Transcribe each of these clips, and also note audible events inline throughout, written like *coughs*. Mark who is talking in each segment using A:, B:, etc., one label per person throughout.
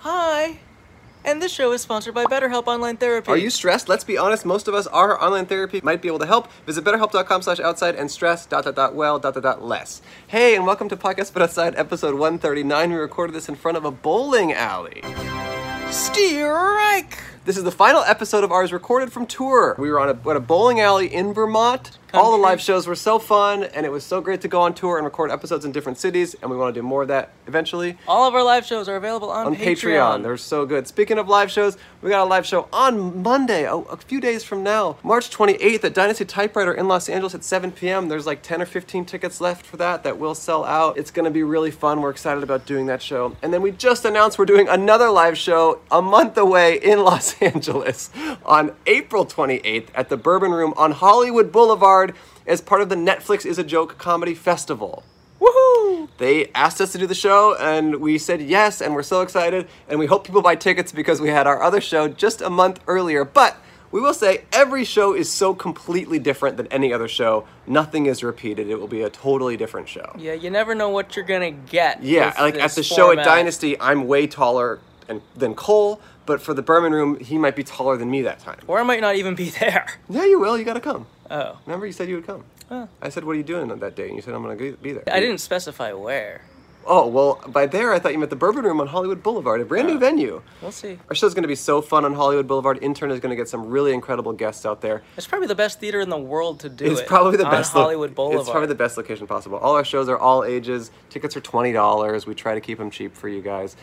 A: Hi. And this show is sponsored by BetterHelp Online Therapy.
B: Are you stressed? Let's be honest, most of us are. Online therapy might be able to help. Visit betterhelp.com slash outside and stress dot dot dot well dot dot dot less. Hey, and welcome to Podcast But Outside, episode 139. We recorded this in front of a bowling alley.
A: Strike!
B: This is the final episode of ours recorded from tour. We were on a, at a bowling alley in Vermont. All the
A: Country.
B: live shows were so fun, and it was so great to go on tour and record episodes in different cities, and we want to do more of that eventually.
A: All of our live shows are available on,
B: on Patreon. They're so good. Speaking of live shows, we got a live show on Monday, a, a few days from now, March 28th at Dynasty Typewriter in Los Angeles at 7 p.m. There's like 10 or 15 tickets left for that that will sell out. It's going to be really fun. We're excited about doing that show. And then we just announced we're doing another live show a month away in Los *laughs* Angeles on April 28th at the Bourbon Room on Hollywood Boulevard as part of the Netflix is a Joke Comedy Festival
A: Woohoo!
B: they asked us to do the show and we said yes and we're so excited and we hope people buy tickets because we had our other show just a month earlier but we will say every show is so completely different than any other show nothing is repeated it will be a totally different show
A: Yeah, you never know what you're gonna get.
B: yeah,
A: with
B: like at the
A: this
B: show at
A: format.
B: dynasty i'm way taller and, than cole but for the berman room he might be taller than me that time
A: Or I might not even be *laughs* there.
B: yeah you will you gotta come
A: Oh.
B: remember you said you would come i said what are you doing on that day and you said i'm gonna be there
A: I didn't specify where.
B: oh well by there i thought you meant the bourbon room on hollywood boulevard a brand new venue
A: We'll see.
B: Our show's going to be so fun on Hollywood Boulevard. Intern is going to get some really incredible guests out there.
A: It's probably the best theater in the world to do
B: It's
A: it.
B: probably the
A: on
B: best. lo-
A: Hollywood Boulevard.
B: It's probably the best location possible. All our shows are all ages. Tickets are twenty dollars. We try to keep them cheap for you guys.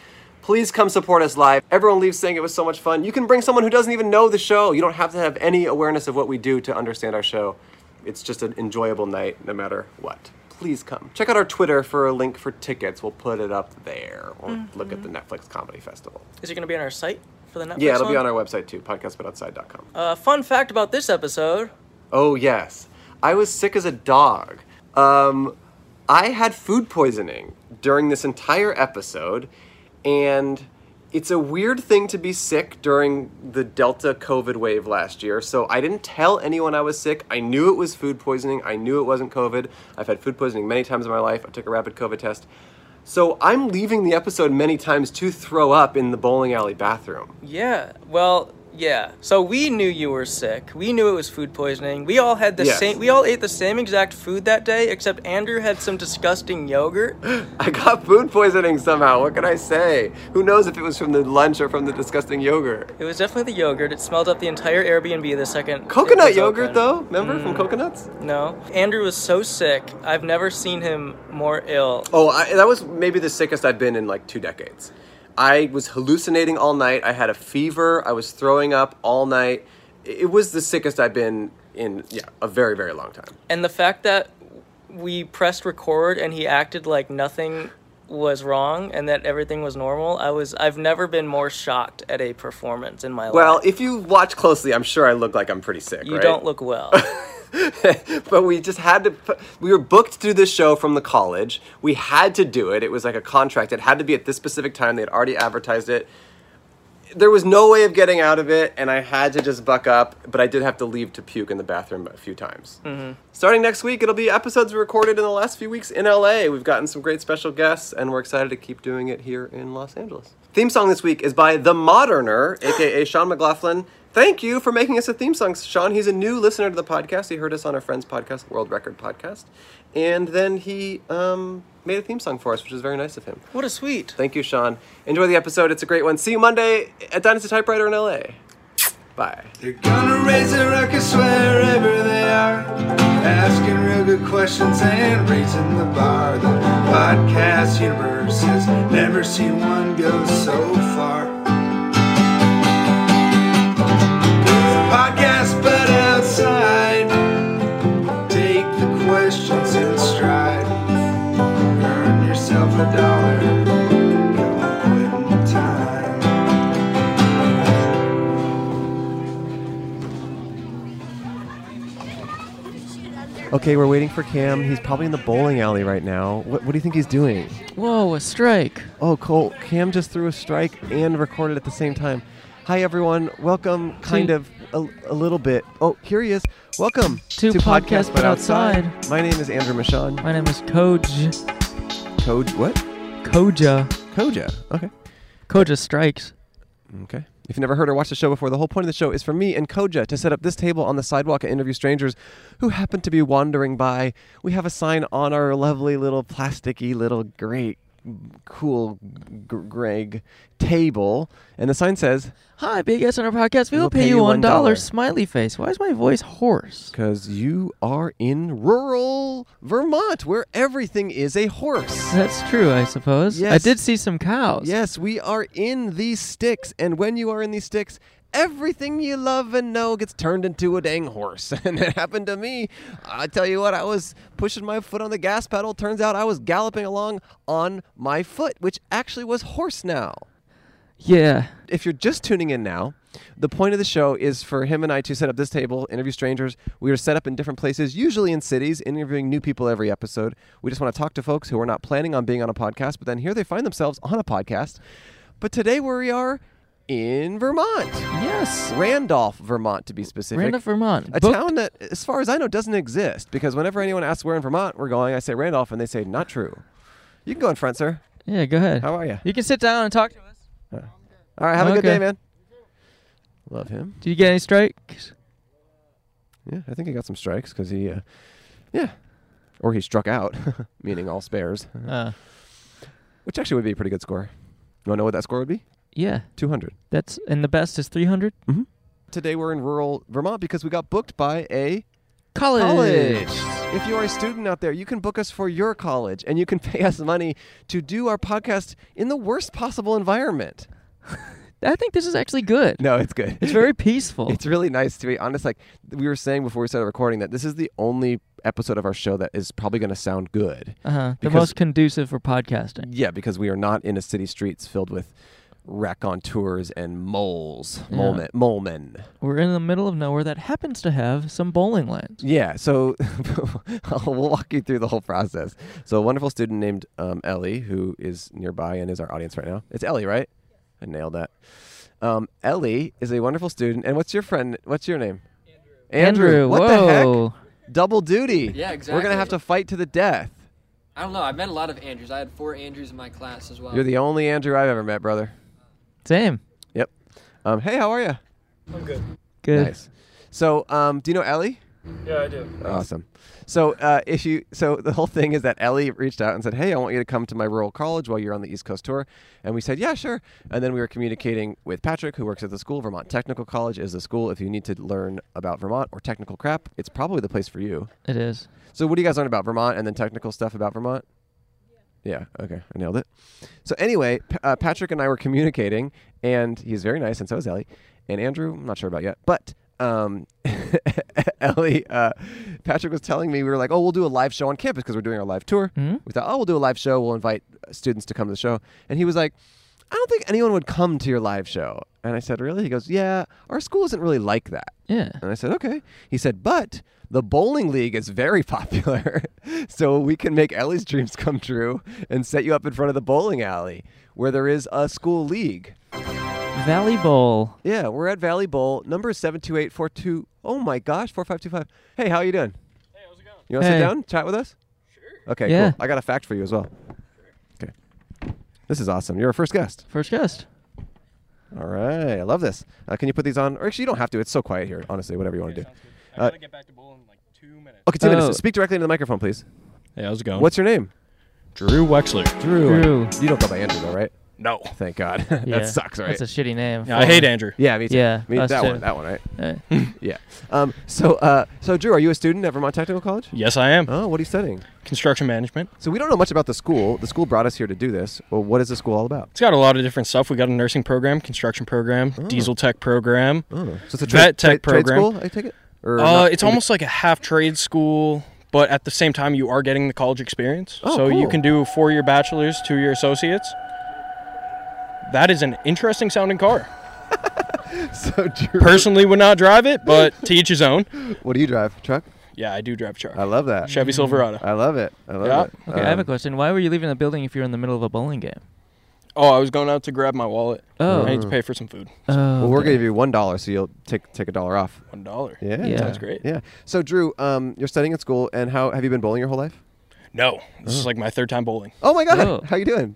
B: Please come support us live. Everyone leaves saying it was so much fun. You can bring someone who doesn't even know the show. You don't have to have any awareness of what we do to understand our show. It's just an enjoyable night, no matter what. Please come. Check out our Twitter for a link for tickets. We'll put it up there. Or look at the Netflix Comedy Festival.
A: Is it gonna be on our site for the Mm-hmm. Netflix?
B: Yeah, it'll be on
A: one?
B: our website too, podcastbutoutside.com.
A: Uh, fun fact about this episode.
B: Oh yes, I was sick as a dog. Um, I had food poisoning during this entire episode, and it's a weird thing to be sick during the Delta COVID wave last year. So I didn't tell anyone I was sick. I knew it was food poisoning. I knew it wasn't COVID. I've had food poisoning many times in my life. I took a rapid COVID test. So I'm leaving the episode many times to throw up in the bowling alley bathroom.
A: Yeah. Well, yeah. So we knew you were sick. We knew it was food poisoning. We all had the
B: Yes.
A: same. We all ate the same exact food that day, except Andrew had some disgusting yogurt.
B: *gasps* I got food poisoning somehow. What can I say? Who knows if it was from the lunch or from the disgusting yogurt?
A: It was definitely the yogurt. It smelled up the entire Airbnb the second. it
B: Coconut
A: was Mm.
B: yogurt,
A: open.
B: though. Remember from coconuts?
A: No. Andrew was so sick. I've never seen him more ill.
B: Oh, I, that was maybe the sickest I've been in like two decades. I was hallucinating all night. I had a fever. I was throwing up all night. It was the sickest I've been in yeah a very very long time.
A: And the fact that we pressed record and he acted like nothing was wrong and that everything was normal, I was I've never been more shocked at a performance in my life.
B: Well, if you watch closely, I'm sure I look like I'm pretty sick.
A: you
B: right?
A: don't look well.
B: *laughs* but we just had to put, we were booked through this show from the college we had to do it it was like a contract it had to be at this specific time they had already advertised it there was no way of getting out of it and i had to just buck up but i did have to leave to puke in the bathroom a few times
A: Mm-hmm.
B: starting next week it'll be episodes we recorded in the last few weeks in la we've gotten some great special guests and we're excited to keep doing it here in los angeles theme song this week is by the moderner aka sean mclaughlin thank you for making us a theme song sean he's a new listener to the podcast he heard us on our friends podcast world record podcast and then he um, made a theme song for us which is very nice of him
A: what a sweet.
B: Thank you, Sean. Enjoy the episode. It's a great one. See you Monday at Dynasty Typewriter in LA. Bye.
C: They're gonna raise their ruckus wherever they are. Asking real good questions and raising the bar. The podcast universe has never seen one go so far. Podcast, but outside. Take the questions in stride. Earn yourself a dollar. Go in time.
B: Okay, we're waiting for Cam. He's probably in the bowling alley right now. What, what do you think he's doing?
A: Whoa, a strike.
B: Oh, Cole, Cam just threw a strike and recorded at the same time. Hi, everyone. Welcome, kind of, a, a little bit. Oh, here he is. Welcome
A: To Podcast But Outside.
B: My name is Andrew Michon.
A: My name is Koj
B: Code, what?
A: Koja.
B: Koja. Okay.
D: Koja strikes.
B: Okay. If you've never heard or watched the show before, the whole point of the show is for me and Koja to set up this table on the sidewalk and interview strangers who happen to be wandering by. We have a sign on our lovely little plasticky little great cool gr- Greg table, and the sign says
A: Hi, Big S on our podcast. We will pay, you one dollar. Smiley face. Why is my voice hoarse?
B: Because you are in rural Vermont, where everything is a horse.
A: That's true, I suppose. I
B: Yes.
A: did see some cows.
B: Yes, we are in these sticks, and when you are in these sticks, everything you love and know gets turned into a dang horse. *laughs* And it happened to me. I tell you what, I was pushing my foot on the gas pedal. Turns out I was galloping along on my foot, which actually was horse now.
A: Yeah.
B: if you're just tuning in now, the point of the show is for him and I to set up this table, interview strangers. We are set up in different places, usually in cities, interviewing new people every episode. We just want to talk to folks who are not planning on being on a podcast, but then here they find themselves on a podcast. But today we are in Vermont,
A: Yes.
B: Randolph, Vermont, to be specific.
A: Randolph, Vermont.
B: A
A: Booked-
B: town that, as far as I know, doesn't exist because whenever anyone asks where in Vermont we're going, I say Randolph, and they say not true. You can go in front, sir.
A: Yeah. Go ahead.
B: How are you?
A: You can sit down and talk to us.
B: All right, have a good
A: Okay.
B: day, man. Love him.
A: Did you get any strikes?
B: Yeah, I think he got some strikes because he, uh, yeah, or he struck out, *laughs* meaning all spares,
A: Uh,
B: which actually would be a pretty good score. You want to know what that score would be?
A: yeah.
B: 200.
A: That's and the best is three hundred.
B: Mm-hmm. Today we're in rural Vermont because we got booked by a
A: College.
B: college. If you are a student out there, you can book us for your college and you can *laughs* pay us money to do our podcast in the worst possible environment.
A: *laughs* I think this is actually good.
B: No, it's good.
A: It's
B: *laughs*
A: very peaceful.
B: It's really nice to be honest. Like we were saying before we started recording, that this is the only episode of our show that is probably going to sound good.
A: uh-huh. The
B: because-
A: most conducive for podcasting.
B: Yeah, because we are not in a city streets filled with raconteurs and moles, molemen, molemen.
A: We're in the middle of nowhere that happens to have some bowling lanes.
B: Yeah, so *laughs* we'll walk you through the whole process. So a wonderful student named um, Ellie, who is nearby and is our audience right now. It's Ellie, right? I nailed that. Um, Ellie is a wonderful student, and what's your friend? What's your name? Andrew.
A: Andrew,
B: what the
A: whoa.
B: heck? Double duty.
E: Yeah,
B: We're gonna
E: exactly.
B: have to fight to the death.
E: I don't know. I met a lot of Andrews. I had four Andrews in my class as well.
B: You're the only Andrew I've ever met, brother.
A: Same.
B: Yep. Um, hey, how are you?
A: Good.
B: Nice. So, um, do you know Ellie?
F: Yeah, I do.
B: Awesome. So, uh, if you so the whole thing is that Ellie reached out and said, "Hey, I want you to come to my rural college while you're on the East Coast tour," and we said, "Yeah, sure." And then we were communicating with Patrick, who works at the school. Vermont Technical College is the school. If you need to learn about Vermont or technical crap, it's probably the place for you.
A: It is.
B: So, what do you guys learn about Vermont and then technical stuff about Vermont? Yeah. Okay. I nailed it. So anyway, P- uh, Patrick and I were communicating, and he's very nice, and so is Ellie, and Andrew. I'm not sure about yet, but um, *laughs* Ellie, uh, Patrick was telling me we were like, oh, we'll do a live show on campus because we're doing our live tour. We thought, oh, we'll do a live show. We'll invite uh, students to come to the show, and he was like, I don't think anyone would come to your live show. And I said, really? He goes, yeah, our school isn't really like that.
A: Yeah.
B: And I said, okay. He said, but the bowling league is very *laughs* popular. so we can make Ellie's dreams come true and set you up in front of the bowling alley where there is a school league.
A: Valley Bowl.
B: Yeah, we're at Valley Bowl. Number is 72842. Oh my gosh, 4525. Hey, how you doing? Hey, how's it going? You want to
A: Hey.
B: sit down, chat with us? Sure. Okay,
A: Yeah.
B: cool. I got a fact for you as well. Okay. This is awesome. You're our first guest.
A: First guest.
B: All right. I love this. Uh, can you put these on? Or actually, you don't have to. It's so quiet here. Honestly, whatever you want to do.
F: I
B: Uh,
F: gotta get back to bowling in like two minutes.
B: Okay, two
A: Oh.
B: minutes. Speak directly into the microphone, please.
F: Hey, how's it going?
B: What's your *laughs* name?
F: Drew Wexler?
B: Drew.
A: Drew.
B: You don't go by Andrew, though, right?
F: No.
B: Thank God. that
A: Yeah.
B: sucks, right?
A: That's a shitty name.
F: I hate Andrew.
B: yeah, me too.
A: Yeah,
B: me,
A: us
B: that
A: too.
B: one. That one, right?
A: Hey.
B: *laughs* yeah. Um, so, uh, so Drew, are you a student at Vermont Technical College?
F: Yes, I am.
B: Oh, what are you studying?
F: Construction management.
B: So we don't know much about the school. The school brought us here to do this. Well, what is the school all about?
F: It's got a lot of different stuff. We got a nursing program, construction program, diesel tech program.
B: Oh, so it's a
F: Vet
B: trade
F: tech program.
B: school. I take it. Or
F: Uh,
B: not-
F: it's almost like a half trade school, but at the same time, you are getting the college experience.
B: Oh,
F: so
B: cool.
F: you can do four year bachelor's, two year associates. That is an interesting sounding car.
B: *laughs*
F: *laughs*
B: so. Drew,
F: Personally, would not drive it, but to each his own.
B: *laughs* what do you drive? Truck.
F: Yeah, I do drive a
B: I
F: truck.
B: love that.
F: Chevy Silverado.
B: I love it. I love
F: Yeah.
B: it.
A: Okay, I have a
B: Um,
A: question. Why were you leaving the building if you're in the middle of a bowling game?
F: Oh, I was going out to grab my wallet.
A: Oh.
F: I need to pay for some food.
A: Oh,
B: Uh, Well, we're
A: okay.
B: gonna give you one dollar, so you'll take take a dollar off.
F: One dollar.
B: Yeah.
A: Yeah.
F: Sounds great.
B: Yeah. So Drew, um, you're studying at school, and how have you been bowling your whole life?
F: No, this is like my third time bowling.
B: Oh my God!
A: Oh.
B: How you doing?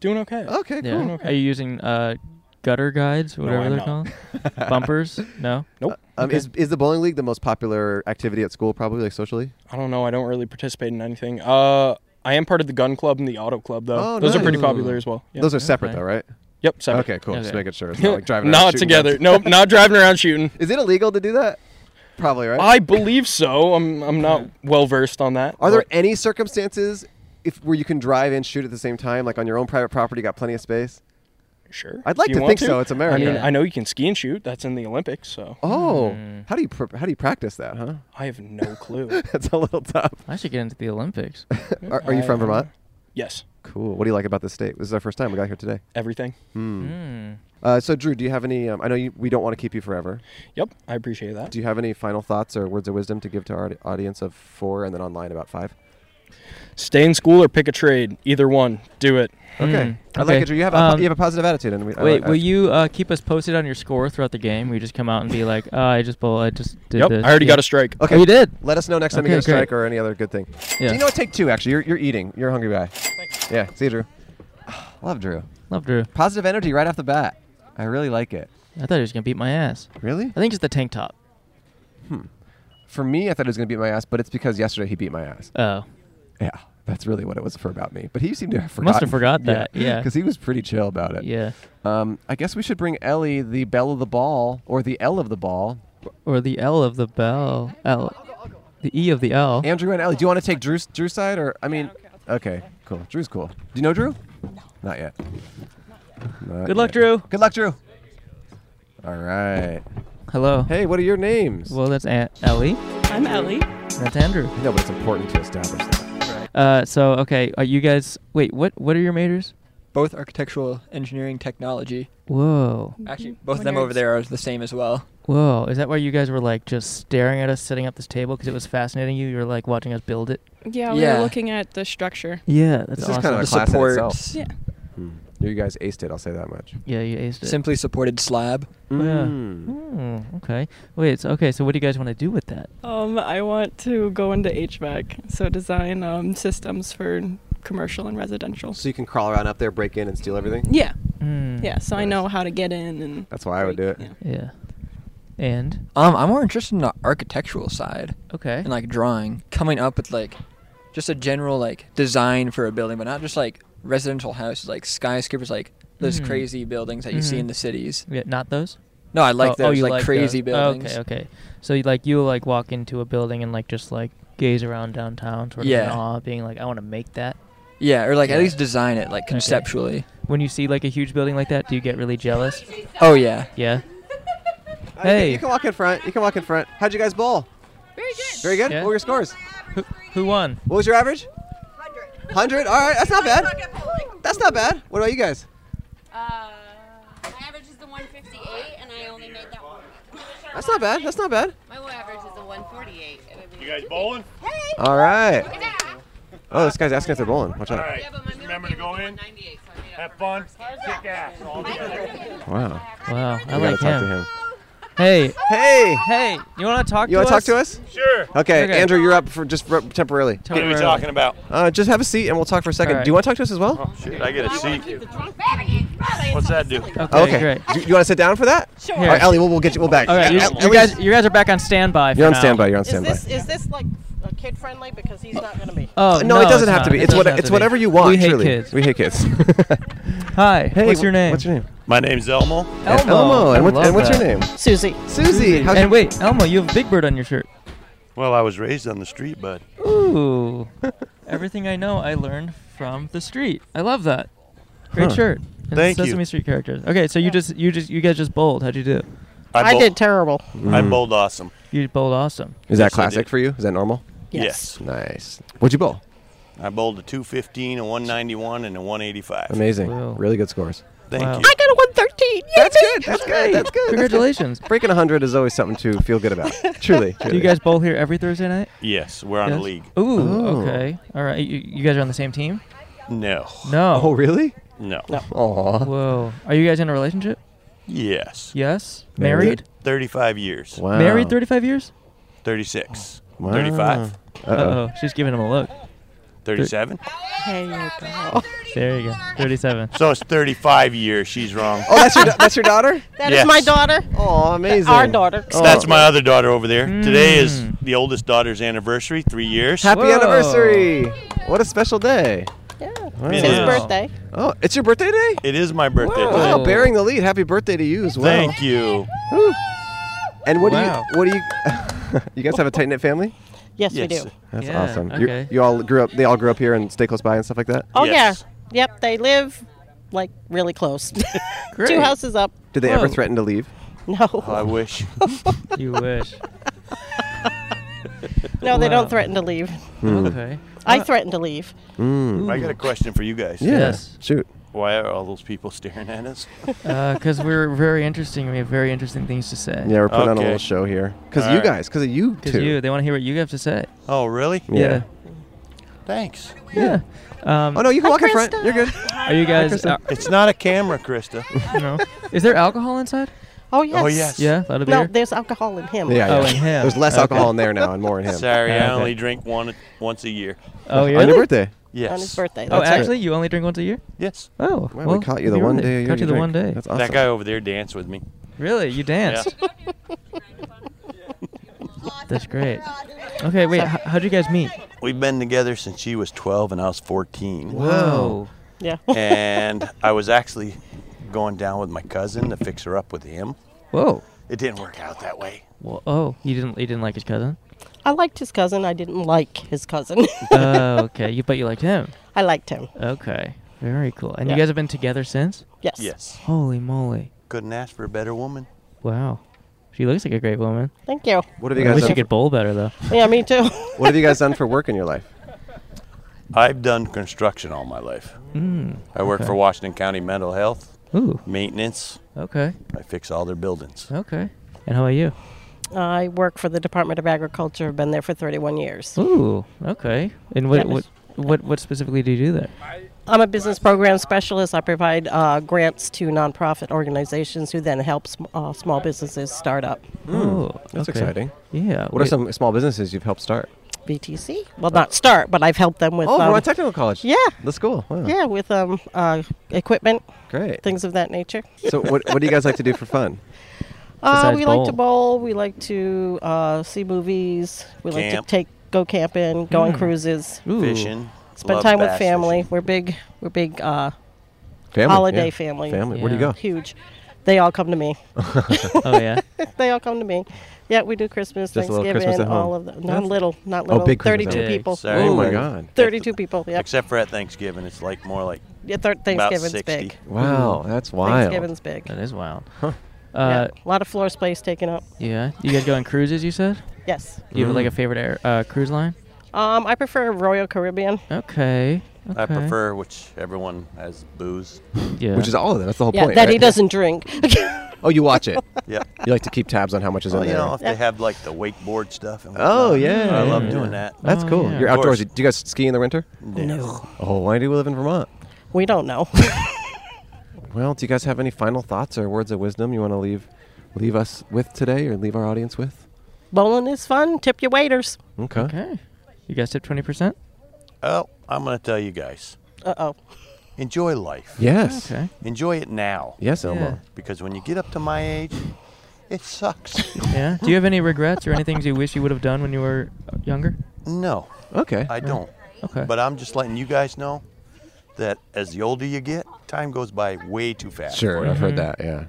F: Doing okay.
B: Okay,
A: Yeah.
B: cool.
A: Are you using uh, gutter guides, whatever
F: I'm
A: they're
F: not.
A: called?
B: *laughs*
A: Bumpers? No.
B: Um, is, is the bowling league the most popular activity at school, probably, like socially?
F: I don't know. I don't really participate in anything. Uh, I am part of the gun club and the auto club though.
B: Oh,
F: Those are pretty
B: nice.
F: popular as well. Yeah.
B: Those are separate,
A: Okay.
B: though, right?
F: yep. Seven.
B: Okay, cool. Just
A: Okay.
B: making sure. It's
F: *laughs*
B: not like driving around
F: not
B: shooting
F: together.
B: guns.
F: Nope. Not driving around shooting.
B: Is it illegal to do that? Probably, right?
F: I believe so. I'm I'm not well versed on that.
B: Are there
F: but
B: any circumstances if where you can drive and shoot at the same time, like on your own private property, got plenty of space?
F: sure?
B: *laughs* I'd like
F: If you
B: to
F: want
B: think so. It's America.
F: I mean, I know you Hmm. can ski and shoot. That's in the Olympics. So
B: Oh,
A: Mm.
B: how do you pr- how do you practice that, huh?
F: I have no clue.
B: *laughs* That's a little tough.
A: I should get into the
B: *laughs*
A: Olympics. Hmm.
B: Are, are you from
F: I-
B: Vermont?
F: Um, yes.
B: Cool. What do you like about this state? This is our first time. We got here today.
F: Everything.
A: Hmm.
B: Uh, so, Drew, do you have any? Um, I know you, we don't want to keep you forever.
F: Yep. I appreciate that.
B: Do you have any final thoughts or words of wisdom to give to our audi- audience of four and then online about five?
F: Stay in school or pick a trade. Either one. Do it.
B: Okay. I like
A: Hmm. okay.
B: it, Drew. You have, a, po-
A: Um,
B: you have a positive attitude. and we, I
A: Wait,
B: like-
A: will you uh, keep us posted on your score throughout the game? We just come out and be like, oh, I just bowl, I just did
F: yep.
A: this.
F: I already
A: Yeah.
F: got a strike.
B: Okay.
A: Oh, you did?
B: Let us know next time you
A: Okay,
B: get a strike
A: great.
B: or any other good thing.
A: Yeah.
B: Do you know what? Take two, actually. You're, you're eating. You're a hungry guy. Yeah. See you, Drew. Love Drew.
A: Love Drew.
B: Positive energy right off the bat. I really like it.
A: I thought he was gonna beat my ass.
B: Really? Hmm.
A: I think just the tank top.
B: For me, I thought he was going to beat my ass, but it's because yesterday he beat my ass.
A: Oh,
B: Yeah. That's really what it was for about me. But he seemed to have forgotten.
A: must have forgot that. Yeah.
B: Because he was pretty chill about it.
A: yeah.
B: Um, I guess we should bring Ellie the bell of the ball or the L of the ball.
A: Or the L of the bell. L. The E of the L.
B: Andrew and Ellie, do you want to take Drew's Drew's side or I mean? okay, cool. Drew's cool. Do you know Drew? No. Not yet. Not
A: Good luck,
B: yet.
A: Drew.
B: Good luck, Drew. All right.
A: Hello.
B: Hey, what are your names?
A: Well, that's Aunt Ellie.
G: I'm Ellie.
A: That's Andrew.
B: no, but it's important to establish that.
A: Uh, so okay, are you guys? Wait, what? What are your majors?
E: Both architectural engineering technology.
A: Whoa,
E: Actually, both
G: What
E: of them over
G: nerds.
E: there are the same as well.
A: whoa! Is that why you guys were like just staring at us setting up this table because it was fascinating you? You were like watching us build it.
G: Yeah, we
E: Yeah.
G: were looking at the structure.
A: Yeah, that's
B: This
A: awesome.
B: is kind of a
E: The
B: class in itself. Hmm.
E: supports.
G: Yeah.
B: You guys aced it. I'll say that much.
A: yeah, you aced it.
E: Simply supported slab.
B: Mm.
A: Mm, Oh, okay. Wait. So, okay. So, what do you guys want to do with that?
G: Um, I want to go into HVAC, so design um, systems for commercial and residential.
B: So you can crawl around up there, break in, and steal everything.
G: Yeah,
A: Mm,
G: yeah. So I
B: Nice.
G: know how to get in and.
B: That's why I would do it.
G: Yeah.
A: Yeah. And
E: Um, I'm more interested in the architectural side
A: okay.
E: and like drawing, coming up with like just a general like design for a building, but not just like residential houses, like skyscrapers, like those
A: Mhm.
E: crazy buildings that you see
A: Mhm.
E: in the cities.
A: Yeah, not those.
E: No, I like
A: oh,
E: those
A: oh, you
E: like, crazy
A: those.
E: buildings.
A: Okay, okay. So you like you like walk into a building and like just like gaze around downtown, sort of in
E: Yeah.
A: awe, being like, I want to make that.
E: Yeah, or like
A: Yeah.
E: at least design it like conceptually.
A: When you see like a huge building like that, do you get really jealous?
E: Oh yeah.
A: Yeah.
B: Uh, you
A: Hey.
B: can- you can walk in front. You can walk in front. How'd you guys bowl?
H: Very good.
B: Very good.
A: Yeah.
B: What were your scores?
A: Who, who won?
B: What was your average?
H: 100.
B: Hundred. All right. That's not bad. That's not bad. What about you guys?
H: Uh, my average is the 158, and I only made that one.
B: That's not bad. That's not bad.
H: My average is the 148. You
I: bowling?
B: All right.
H: Yeah,
B: Oh, this guy's asking if they're bowling. Watch out.
I: right.
H: but my middle
I: remember
H: game
I: to go
H: was the
I: in,
H: 198, so I made up for
I: fun.
H: Kick
I: ass.
B: Wow.
A: Wow, I
B: We gotta
A: like
B: talk
A: him.
B: to him.
A: Hey,
B: Hey.
A: hey, you want to talk? to
B: You want
A: us?
B: to talk to us?
I: Sure.
B: Okay,
A: Okay.
B: Andrew, you're up for just r- temporarily.
I: What are we
A: Temporarily.
I: talking about? Uh-huh.
B: Uh, just have a seat and we'll talk for a second.
A: All right.
B: Do you want to talk to us as well?
I: Shit, I get a seat.
H: it.
I: What's that do?
A: Okay,
B: okay.
A: great.
B: Do you want to sit down for that?
G: Sure.
B: All right, Ellie, we'll, we'll get you. We'll back.
A: All right, you,
B: Yeah,
A: you
B: Ellie,
A: guys, you guys are back on standby. for
B: You're on
A: now.
B: standby. You're on
G: Is
B: standby.
G: is this like kid friendly? Because he's not gonna be.
A: Oh
B: no, it doesn't have to be. It's what
A: doesn't have
B: it's
A: to be.
B: whatever you want.
A: We hate
B: truly.
A: kids.
B: We
A: *laughs*
B: hate kids.
A: Hi,
B: Hey,
A: what's your
B: wh-
A: name?
B: What's your name?
I: My name's Elmo.
A: Elmo.
B: Elmo.
A: I
B: And, what,
A: love
B: and what's your
A: that.
B: name?
G: Susie.
B: Susie. How's
A: And wait, Elmo, you have Big Bird on your shirt.
I: Well, I was raised on the street, bud.
A: Ooh. Everything I know, I learned from the street. I love that. Great
B: Huh.
A: shirt. And
I: Thank you.
A: Sesame Street characters. Okay, so you just you just you guys just bowled. How'd you do?
G: I,
I: bowl-
G: did terrible.
I: I bowled awesome.
A: You bowled awesome.
B: Is that
I: Yes, I
B: classic
I: did.
B: for you? Is that normal?
I: Yes.
B: Nice. What'd you bowl?
I: I bowled a 215, a 191, and a 185.
B: Amazing.
A: Wow.
B: Really good scores.
I: Thank
A: Wow.
I: you.
G: I got a 113.
B: That's good. That's good. That's good.
A: Congratulations.
B: *laughs* Breaking 100 is always something to feel
A: *laughs*
B: good about. truly,
A: Do you guys bowl here every Thursday night?
I: Yes, we're on
A: Yes?
I: the league.
A: Ooh,
B: Oh.
A: okay. All right. You, you guys are on the same team?
I: No.
A: No.
B: Oh, really?
I: No.
B: Aw.
A: Whoa. Are you guys in a relationship?
I: Yes.
A: Yes.
B: Married?
A: Married?
I: 35 years.
B: Wow.
A: Married 35 years?
I: 36.
B: Wow.
I: 35.
B: Uh-oh. *laughs*
A: oh. She's giving him a look.
I: 37?
J: There you go.
A: There you go. 37.
I: So it's 35 years. She's wrong.
B: Oh, that's
I: *laughs*
B: your da- that's your daughter.
K: That is my
I: Yes.
K: daughter.
B: Oh, amazing. Oh.
K: Our daughter.
I: That's
A: Oh.
I: my other daughter over there.
A: Hmm.
I: Today is the oldest daughter's anniversary, three years.
B: Happy anniversary! What a special day. Yeah.
I: It His is.
K: birthday.
B: Oh, it's your birthday day.
I: It is my birthday.
B: Wow,
I: today.
B: bearing the lead. Happy birthday to you as well.
I: Thank you.
B: Woo. And what
I: Wow.
B: do you? *laughs* What do you? you guys have a tight knit family?
K: Yes, we Yes. do.
B: That's
K: Yeah,
B: awesome. You-
K: okay.
B: You all grew up. They all grew up here and stay close by and stuff like that.
K: Oh yeah. Yep. They live like really close. *laughs* Two houses up.
B: Did they ever threaten to leave? Oh,
K: *laughs* No.
I: I wish.
A: you
B: *laughs*
A: wish.
K: No, they
A: Wow.
K: don't threaten to leave.
I: Hmm. Okay.
B: Uh,
K: I threatened to leave.
A: Mm.
I: I got a question for you guys.
A: Yeah, Yes.
B: Hmm. Shoot.
I: Why are all those people staring at us?
A: Because Uh, we're very interesting. We have very interesting things to say.
B: Yeah, we're putting on a little show here because you
I: Alright.
B: guys, because of you
A: Because
B: two.
A: you, they want to hear what you have to say.
I: Oh, really?
A: Yeah.
I: Thanks.
A: Yeah. Um,
B: oh no, you can walk in front. You're good.
A: Are you guys? uh,
B: Krista.
I: It's not a camera, Krista.
A: *laughs* no. Is there alcohol inside?
K: Oh yes.
I: Oh, yes.
A: Yeah, that'll be
K: No,
A: here.
K: there's alcohol in him.
B: Yeah,
A: Oh,
B: yeah.
A: in him.
B: *laughs* There's less
A: Okay.
B: alcohol in there now and more in him.
I: Sorry, I
A: Okay.
I: only drink one once a year.
A: Oh, yeah.
B: On your birthday.
I: Yes.
K: On his birthday.
A: Oh,
K: That's
A: actually, you only drink once a year?
I: Yes.
A: Oh,
B: Wow, we
A: well,
B: caught you the
A: you're
B: one
A: right.
B: day a year
A: Caught
B: you
A: you the
B: drink.
A: one day.
B: That's
I: That guy over there danced with me.
A: Really? You danced? *laughs* That's great. Okay, wait. H- how'd you guys meet?
I: We've been together since she was 12 and I was 14.
A: Whoa.
K: Yeah. *laughs*
I: and I was actually going down with my cousin to fix her up with him.
A: Whoa.
I: It didn't work out that way.
A: Well, oh, you didn't. You didn't like his
B: *laughs*
A: cousin.
K: I liked his cousin. I didn't like his cousin. *laughs*
A: oh, okay. You but you liked him.
K: I liked him.
A: Okay. Very cool. And you
K: Yeah.
A: guys have been together since?
K: Yes.
I: Yes.
A: Holy moly!
I: Couldn't ask for a better woman.
A: Wow. She looks like a great woman.
K: Thank you.
B: What have you
A: I
B: guys
A: wish
B: done
A: she could bowl better though.
K: Yeah, me too.
B: What have you guys done for work in your life?
I: I've done construction all my life.
B: Hmm,
A: Mm,
I: I work
A: okay.
I: for Washington County Mental Health.
A: Ooh.
I: Maintenance.
A: Okay.
I: I fix all their buildings.
A: Okay. And how about you?
K: I work for the Department of Agriculture. I've been there for 31 years.
A: Ooh. Okay. And what
K: That
A: what
K: was-
A: what what specifically do you do there?
K: I'm a business program specialist. I provide uh, grants to nonprofit organizations who then help sm- uh, small businesses start up.
B: Hmm.
A: Oh,
B: That's
A: okay.
B: exciting.
A: Yeah.
B: What are
A: wait.
B: some small businesses you've helped start?
K: BTC? Well, not start, but I've helped them with.
B: Oh,
K: um,
B: Vermont Technical College.
K: Yeah.
B: The school. Wow.
K: Yeah, with um, uh, equipment.
B: Great.
K: Things of that nature.
B: So what, what do you guys like to do for fun?
K: Uh,
B: Besides
K: we like to bowl. We like to uh, see movies. We like
B: Camp.
K: to take go camping, go on
B: Mm.
K: cruises,
B: Ooh. Fishing.
K: spend
B: Love
K: time with
B: bass
K: family. We're big. We're big uh,
B: Family,
K: holiday
B: yeah.
K: family.
B: Family. Where do you Yeah. go?
K: Huge. They all come to
B: *laughs*
K: me. *laughs*
A: Oh yeah.
K: they all come to me. Yeah, we do Christmas,
B: Just a little
K: Thanksgiving,
B: Christmas at home.
K: all of them. Not
B: That's-
K: little, not
B: Oh,
K: little.
B: big Christmas at
K: Thirty-two
B: home.
K: people.
I: Sorry.
B: Oh my God.
K: Thirty-two people. Yeah.
I: Except for at Thanksgiving, it's like more like
K: Yeah, thir- Thanksgiving's
I: about 60.
K: big.
B: Wow, that's wild.
K: Thanksgiving's big.
A: That is wild.
B: Huh.
A: Uh,
K: yeah. A lot of floor space taken up.
A: yeah. You guys go on cruises? You said?
K: Yes.
A: Do you have like a
B: Mm.
A: favorite air, uh, cruise line?
K: Um, I prefer Royal Caribbean.
B: Oh.
A: Okay.
I: Mm-hmm. I
A: okay.
I: prefer which everyone has booze.
A: Yeah.
B: Which is all of it. That's the whole
K: yeah,
B: point.
K: that
B: right?
K: he doesn't drink.
B: *laughs* Oh, you watch it.
I: *laughs* Yeah.
B: You like to keep tabs on how much is
I: Well,
B: in
I: you
B: there.
I: know, if they have like the wakeboard stuff. And
B: Oh
I: whatnot,
B: yeah,
I: I love
B: yeah.
I: doing that.
B: That's
A: Oh,
B: cool.
A: yeah.
B: You're
I: Of course.
B: outdoorsy. Do you guys ski in the winter?
K: No.
B: Oh, why do we live in Vermont?
K: we don't
B: *laughs*
K: know.
B: Well, do you guys have any final thoughts or words of wisdom you want to leave leave us with today or leave our audience with?
K: Bowling is fun. Tip your waiters.
B: Okay.
A: Okay. You guys tip twenty percent?
I: Oh, I'm gonna tell you guys.
K: Uh oh.
I: Enjoy life.
B: Yes. Okay.
I: Enjoy it now.
B: Yes, Elmo. Yeah.
I: Because when you get up to my age, it sucks.
A: Yeah.
I: *laughs*
A: Do you have any regrets or any things you wish you would have done when you were uh, younger?
I: No.
B: Okay.
I: I don't.
A: Okay.
I: But I'm just letting you guys know that as the older you get, time goes by way too fast.
B: Sure,
I: for you.
B: I've heard
A: Mm-hmm.
B: that. Yeah.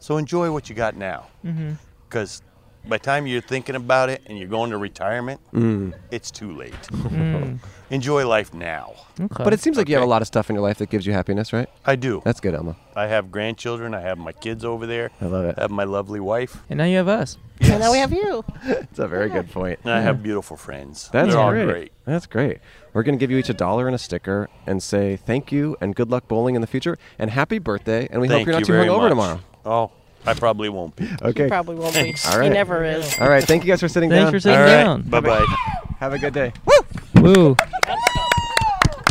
I: So enjoy what you got now.
A: Mhm.
I: Because by the time you're thinking about it and you're going to retirement,
B: Mm.
I: it's too late.
B: Mm.
I: *laughs* Enjoy life now.
B: But it seems like you have a lot of stuff in your life that gives you happiness, right?
I: I do.
B: That's good, Elmo.
I: I have grandchildren. I have my kids over there.
B: I love it.
I: I have my lovely wife.
A: And now you have us.
K: And now we
A: *laughs*
K: have you.
B: That's a very good point.
I: And I have beautiful friends.
B: That's
I: They're all
B: great.
I: great.
B: That's great. We're going to give you each a dollar and a sticker and say thank you and good luck bowling in the future and happy birthday. And we
I: Thank
B: hope you're not
I: you
B: too
I: very
B: hungover
I: much.
B: tomorrow.
I: Oh, I probably won't be.
B: *laughs* Okay.
K: He probably won't be.
B: All right.
K: He never is.
B: All right. Thank you guys for sitting
A: Thanks
B: down.
A: for sitting All right. down.
I: Bye bye.
B: Have a good day.
A: Woo.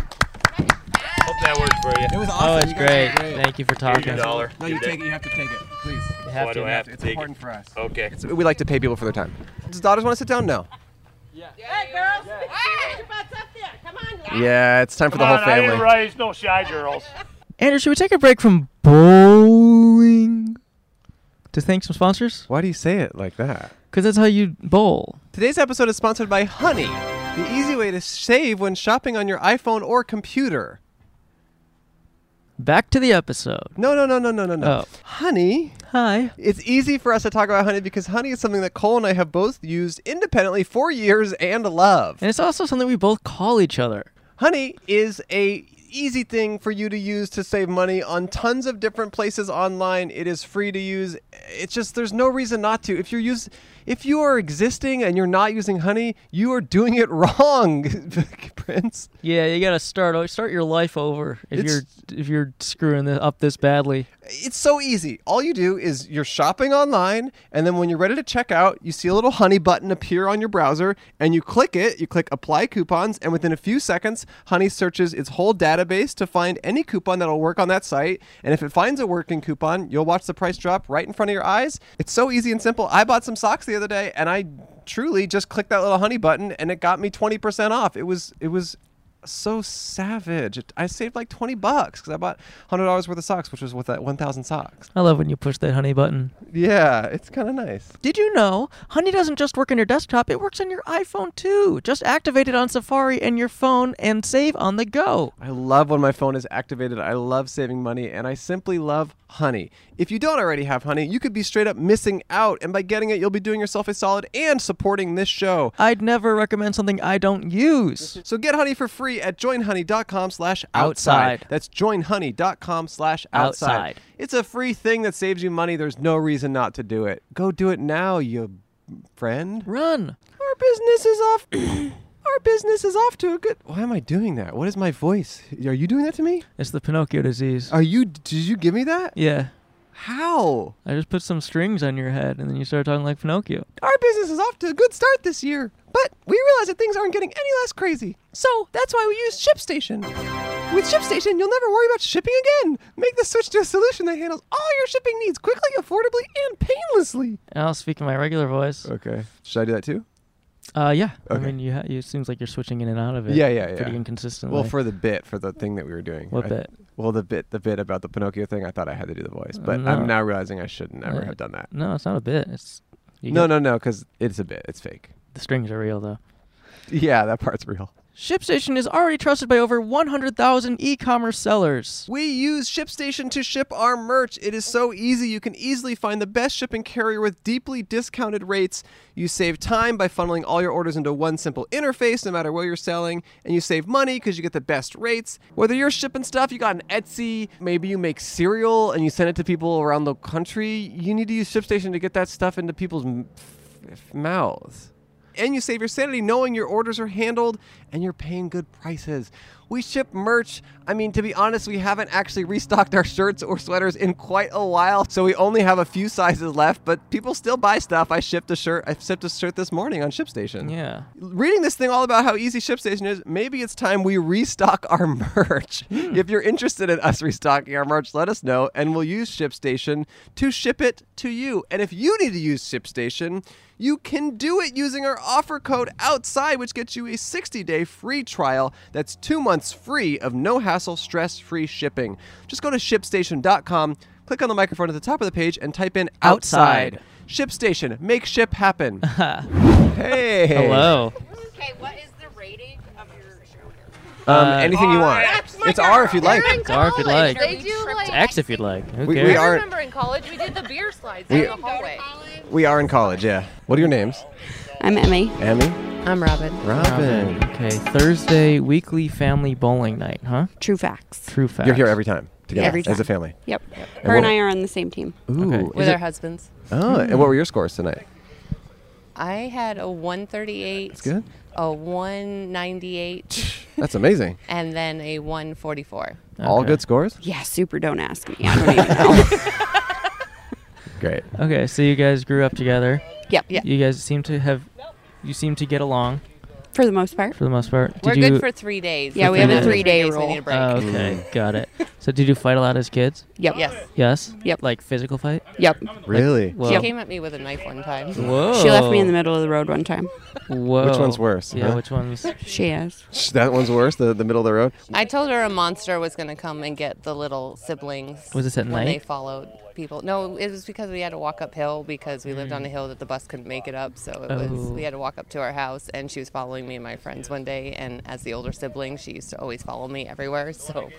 I: Hope that worked for you.
B: It was
A: Oh, it's great. Thank you for
I: Here's
A: talking.
I: your dollar.
B: No, you take it. You have to take it. Please. You
A: have
I: Why
A: to,
I: do I
A: you
I: have
A: have
I: to
B: It's
I: take
B: important
I: it?
B: for us.
I: Okay.
B: So we like to pay people for their time. Does daughters want to sit down? No.
L: Hey, girls. Hey, your butts up there. Come on.
B: Yeah, it's time for
H: Come
B: the
H: on,
B: whole
H: I didn't
B: family.
H: raise no shy girls.
M: Andrew, should we take a break from bowling to thank some sponsors?
B: Why do you say it like that?
M: Because that's how you bowl.
B: Today's episode is sponsored by Honey, the easy way to save when shopping on your iPhone or computer.
M: Back to the episode.
B: No, no, no, no, no, no, no.
M: Oh.
B: Honey.
M: Hi.
B: It's easy for us to talk about honey because honey is something that Cole and I have both used independently for years and love.
M: And it's also something we both call each other.
B: Honey is a easy thing for you to use to save money on tons of different places online. It is free to use. It's just there's no reason not to. If you're use, if you are existing and you're not using honey, you are doing it *laughs* wrong, Prince.
M: Yeah, you gotta start o- start your life over if
B: It's-
M: you're if you're screwing this up this badly.
B: It's so easy. All you do is you're shopping online, and then when you're ready to check out, you see a little honey button appear on your browser, and you click it. You click apply coupons, and within a few seconds, Honey searches its whole database to find any coupon that'll work on that site. And if it finds a working coupon, you'll watch the price drop right in front of your eyes. It's so easy and simple. I bought some socks the other day, and I truly just clicked that little honey button, and it got me 20% off. It was it was so savage. It- I saved like 20 bucks because I bought $100 worth of socks, which was with that 1,000 socks.
M: I love when you push that honey button.
B: Yeah, it's kind of nice.
M: Did you know Honey doesn't just work on your desktop, it works on your iPhone too. Just activate it on Safari and your phone and save on the go.
B: I love when my phone is activated. I love saving money and I simply love honey. If you don't already have honey, you could be straight up missing out. And by getting it, you'll be doing yourself a solid and supporting this show.
M: I'd never recommend something I don't use.
B: So get honey for free at joinhoney.com slash
M: Outside.
B: outside. That's joinhoney.com slash
M: Outside.
B: outside. It's a free thing that saves you money. There's no reason not to do it. Go do it now, you friend.
M: Run.
B: Our business is off.
M: *coughs*
B: Our business is off to a good. Why am I doing that? What is my voice? Are you doing that to me?
M: It's the Pinocchio disease.
B: Are you? Did you give me that?
M: Yeah.
B: How?
M: I just put some strings on your head and then you started talking like Pinocchio.
B: Our business is off to a good start this year, but we realize that things aren't getting any less crazy. So that's why we use ShipStation. With ShipStation, you'll never worry about shipping again. Make the switch to a solution that handles all your shipping needs quickly, affordably, and painlessly.
M: And I'll speak in my regular voice.
B: Okay. Should I do that too?
M: Uh, yeah. I
B: Okay.
M: mean, you ha- you- it seems like you're switching in and out of it.
B: Yeah, yeah, yeah.
M: Pretty inconsistently.
B: Well, for the bit, for the thing that we were doing.
M: What
B: I-
M: bit?
B: Well, the bit, the bit about the Pinocchio thing. I thought I had to do the voice, but
M: no.
B: I'm now realizing I shouldn't ever
M: Uh,
B: have done that.
M: No, it's not a bit. It's you
B: No,
M: get-
B: no, no, because it's a bit. It's fake.
M: The strings are real though.
B: Yeah, that part's real.
M: ShipStation is already trusted by over 100,000 e-commerce sellers.
B: We use ShipStation to ship our merch. It is so easy. You can easily find the best shipping carrier with deeply discounted rates. You save time by funneling all your orders into one simple interface, no matter where you're selling, and you save money because you get the best rates. Whether you're shipping stuff, you got an Etsy, maybe you make cereal and you send it to people around the country, you need to use ShipStation to get that stuff into people's m- f- mouths and you save your sanity knowing your orders are handled and you're paying good prices. We ship merch. I mean, to be honest, we haven't actually restocked our shirts or sweaters in quite a while, so we only have a few sizes left, but people still buy stuff. I shipped a shirt. I shipped a shirt this morning on ShipStation.
M: Yeah.
B: Reading this thing all about how easy ShipStation is, maybe it's time we restock our *laughs* merch. If you're interested in us restocking our merch, let us know and we'll use ShipStation to ship it to you. And if you need to use ShipStation, you can do it using our offer code outside, which gets you a 60 day free trial. That's two months free of no hassle, stress free shipping. Just go to shipstation.com, click on the microphone at the top of the page, and type in outside.
M: Outside.
B: ShipStation, make
M: *laughs*
B: ship happen. hey.
M: Hello.
N: Okay, what is the rating of your show?
B: Um,
M: Uh,
B: anything you want.
N: That's my
B: It's R if you'd
N: girl.
B: like.
N: They're in
M: It's R if you'd
N: college.
M: like.
N: They do like.
M: It's X if you'd like. Who
B: We- we
M: cares?
B: are-
N: I remember in college we did the beer slides
B: We-
N: in the hallway.
B: We are in college, yeah. What are your names?
N: I'm Emmy.
B: Emmy?
N: I'm Robin.
B: Robin.
M: Okay, Thursday weekly family bowling night, huh?
N: True facts.
M: True facts.
B: You're here every time together
N: Every
B: as a
N: time.
B: family.
N: Yep.
B: And
N: Her and
B: what-
N: I are on the same team.
B: Ooh.
O: With
B: is
O: our
B: it-
O: husbands.
B: Oh, and what were your scores tonight?
O: I had a 138. That's
B: good.
O: A 198.
B: That's amazing.
O: and then a 144.
B: All good scores?
N: Yeah, super. Don't ask me. I don't
B: *laughs*
N: even know.
B: Great.
M: Okay, so you guys grew up together.
O: Yep, yeah.
M: You guys seem to have, you seem to get along.
H: for the most part.
A: for the most part.
H: We're
A: Did
H: good
A: you-
H: for three days.
A: for
H: Yeah, we have a
A: days.
H: three-day Three days, we rule. need a break.
A: Oh, okay,
B: Mm.
A: got it. So did you fight a lot as kids?
H: Yep. Yes.
A: Yes.
H: Yep.
A: Like physical fight?
H: Yep.
A: Like,
H: Really?
A: whoa.
H: She came at me with a knife one time.
A: Whoa.
H: She left me in the middle of the road one time.
A: Whoa.
B: Which one's worse?
A: Yeah, which one's?
H: *laughs* She is.
B: Sh- That one's worse. The the middle of the road.
N: I told her a monster was going to come and get the little siblings.
B: Was this at
N: when They
B: night?
N: followed people. No, it was because we had to walk uphill because we lived on a hill that the bus couldn't make it up. So it was
A: Oh.
N: we had to walk up to our house, and she was following me and my friends one day. And as the older sibling, she used to always follow me everywhere. So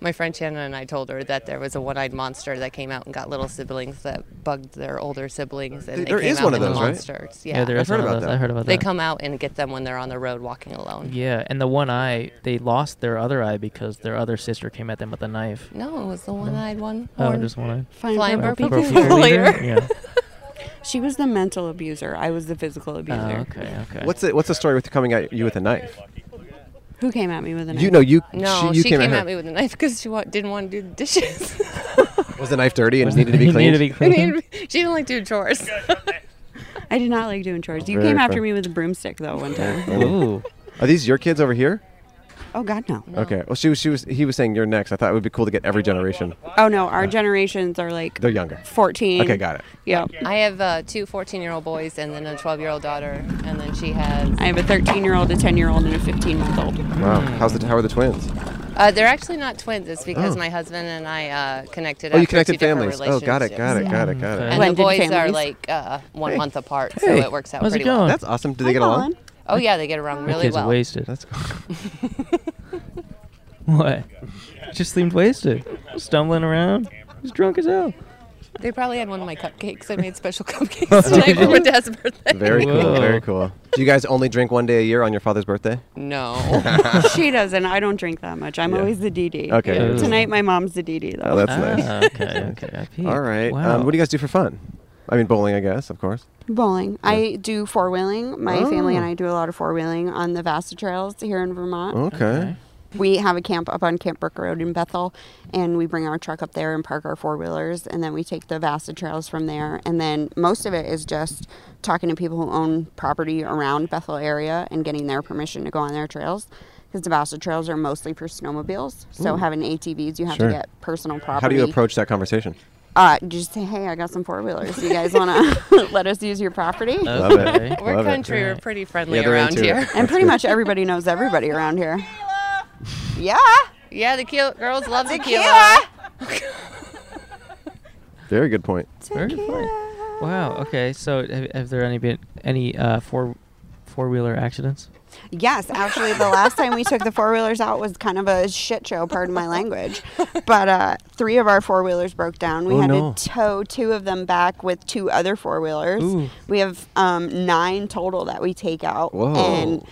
N: my friend Shannon and I told her that there was a one-eyed monster that came out and got little siblings that bugged their older siblings, and they
B: There- there
N: came
B: is
N: out
B: one of
N: in
B: those,
N: the
B: right?
N: monsters. Yeah,
A: Yeah, there is
B: I've heard
A: one of
B: about
A: those.
B: that.
A: I heard about
N: they
A: that.
N: come out and get them when they're on the road walking alone.
A: Yeah, and the one eye, they lost their other eye because their other sister came at them with a knife.
N: No, it was the one-eyed one.
A: Oh,
N: horn-
A: just one eye.
H: Fine,
N: Flying
H: but-
N: burp
H: but- *laughs*
N: people leader.
A: Yeah.
H: She was the mental abuser. I was the physical abuser.
A: Oh, okay.
B: Uh, What's the, what's the story with coming at you with a knife?
H: Who came at me with a knife?
B: You know, you
N: No,
B: she,
N: she,
B: you
N: came, at,
B: her.
N: me with a knife because she wa- didn't want to do the dishes. *laughs*
B: Was the knife dirty and needed to
M: *laughs*
B: be
A: it
B: cleaned?
A: needed to be
N: I mean, she didn't like doing chores.
H: Mm-hmm. *laughs* I did not like doing chores. You
B: Very
H: came after
B: fun.
H: me with a broomstick though one time.
B: *laughs* Ooh. Are these your kids over here?
H: Oh God, no.
B: Okay. Well, she was she was he was saying you're next. I thought it would be cool to get every generation.
H: Oh no, our generations are like
B: They're younger.
H: 14.
B: Okay, got it.
H: Yep.
N: I have uh, two 14 year old boys and then a 12 year old daughter, and then she has.
H: I have a 13 year old, a 10 year old, and a 15 month old.
B: Wow. How's the how are the twins?
N: Uh, they're actually not twins. It's because
B: Oh.
N: my husband and I uh, connected.
B: Oh, you
N: after
B: connected
N: two different
B: families. Oh, got it, got it,
N: relationships.
B: got it, got
N: And
B: it.
N: the
H: *laughs* Blended
N: boys are
H: families.
N: like uh, one
H: Hey.
N: month apart, so it works out pretty well.
B: That's awesome. Do they get along?
N: Oh yeah, they get around
A: My
N: really
A: kids
N: well.
A: are wasted. That's *laughs* what? Just seemed wasted, stumbling around. He's drunk as hell.
N: They probably had one of my cupcakes. I made
B: *laughs*
N: special
A: Oh,
N: cupcakes tonight for
A: wow.
N: my dad's birthday.
B: Very cool.
A: Whoa.
B: Very cool. Do you guys only drink one day a year on your father's birthday? *laughs*
N: No.
H: *laughs* she doesn't. I don't drink that much. I'm
B: Yeah.
H: always the DD.
B: Okay. Ooh.
H: Tonight my mom's the DD though.
B: Oh, that's
H: *laughs*
B: nice.
A: Ah, okay, okay, I peeped.
B: All right.
A: Wow.
B: Um, what do you guys do for fun? I mean, bowling, I guess, of course.
H: Bowling. I do four wheeling. My family and
B: Oh.
H: I do a lot of four wheeling on the Vasta trails here in Vermont.
B: Okay. Okay.
H: We have a camp up on Camp Brook Road in Bethel, and we bring our truck up there and park our four wheelers, and then we take the Vasta trails from there. And then most of it is just talking to people who own property around Bethel area and getting their permission to go on their trails. Because the Vasta trails are mostly for snowmobiles. So
B: Ooh.
H: having ATVs, you have
B: Hmm. Sure.
H: to get personal property.
B: How do you approach that conversation?
H: Uh, just say, hey, I got some four wheelers. You guys want to *laughs* let us use your property?
B: Love it.
N: We're
B: Love it.
N: country. We're pretty friendly
B: Yeah, they're
N: around
B: into it.
N: here.
B: That's
H: And pretty
B: good. *laughs*
H: much everybody knows everybody around here. *laughs* Yeah.
N: Yeah, the cute girls love the cute.
B: Very good point.
A: Very good point. Wow. Okay. So, have, have there any been any uh, four four wheeler accidents?
H: Yes, actually, the last time we took the four wheelers out was kind of a shit show, pardon my language. But uh, three of our four wheelers broke down. We
P: Oh,
H: had
P: no.
H: to tow two of them back with two other four
P: Ooh.
H: wheelers. We have um, nine total that we take out.
P: Whoa.
H: And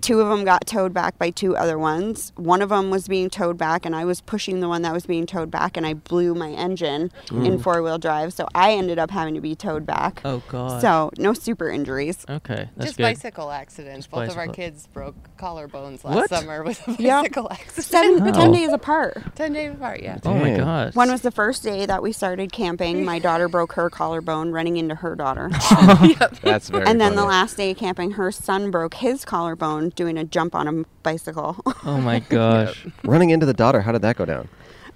H: two of them got towed back by two other ones. One of them was being towed back, and I was pushing the one that was being towed back, and I blew my engine
A: Ooh.
H: in
P: Mm.
H: four wheel drive. So I ended up having to be towed back.
A: Oh God.
H: So no super injuries.
A: Okay. That's
N: Just
A: good.
N: bicycle accidents.
A: Just
N: Both of
A: bicycle.
N: our kids broke collarbones last
A: What?
N: summer with a
H: Yeah.
N: bicycle accident.
H: Seven,
A: Oh.
H: 10 days apart.
N: 10 days apart, yeah.
A: Oh my
B: Dang.
A: God.
H: One was the first day that we started camping. My daughter broke her collarbone running into her
N: *laughs*
H: daughter.
A: *laughs*
B: That's very
H: and then the
B: funny.
H: last day of camping, her son broke his collarbone doing a jump on a bicycle. *laughs*
A: Oh my gosh.
B: Running into the daughter, how did that go down?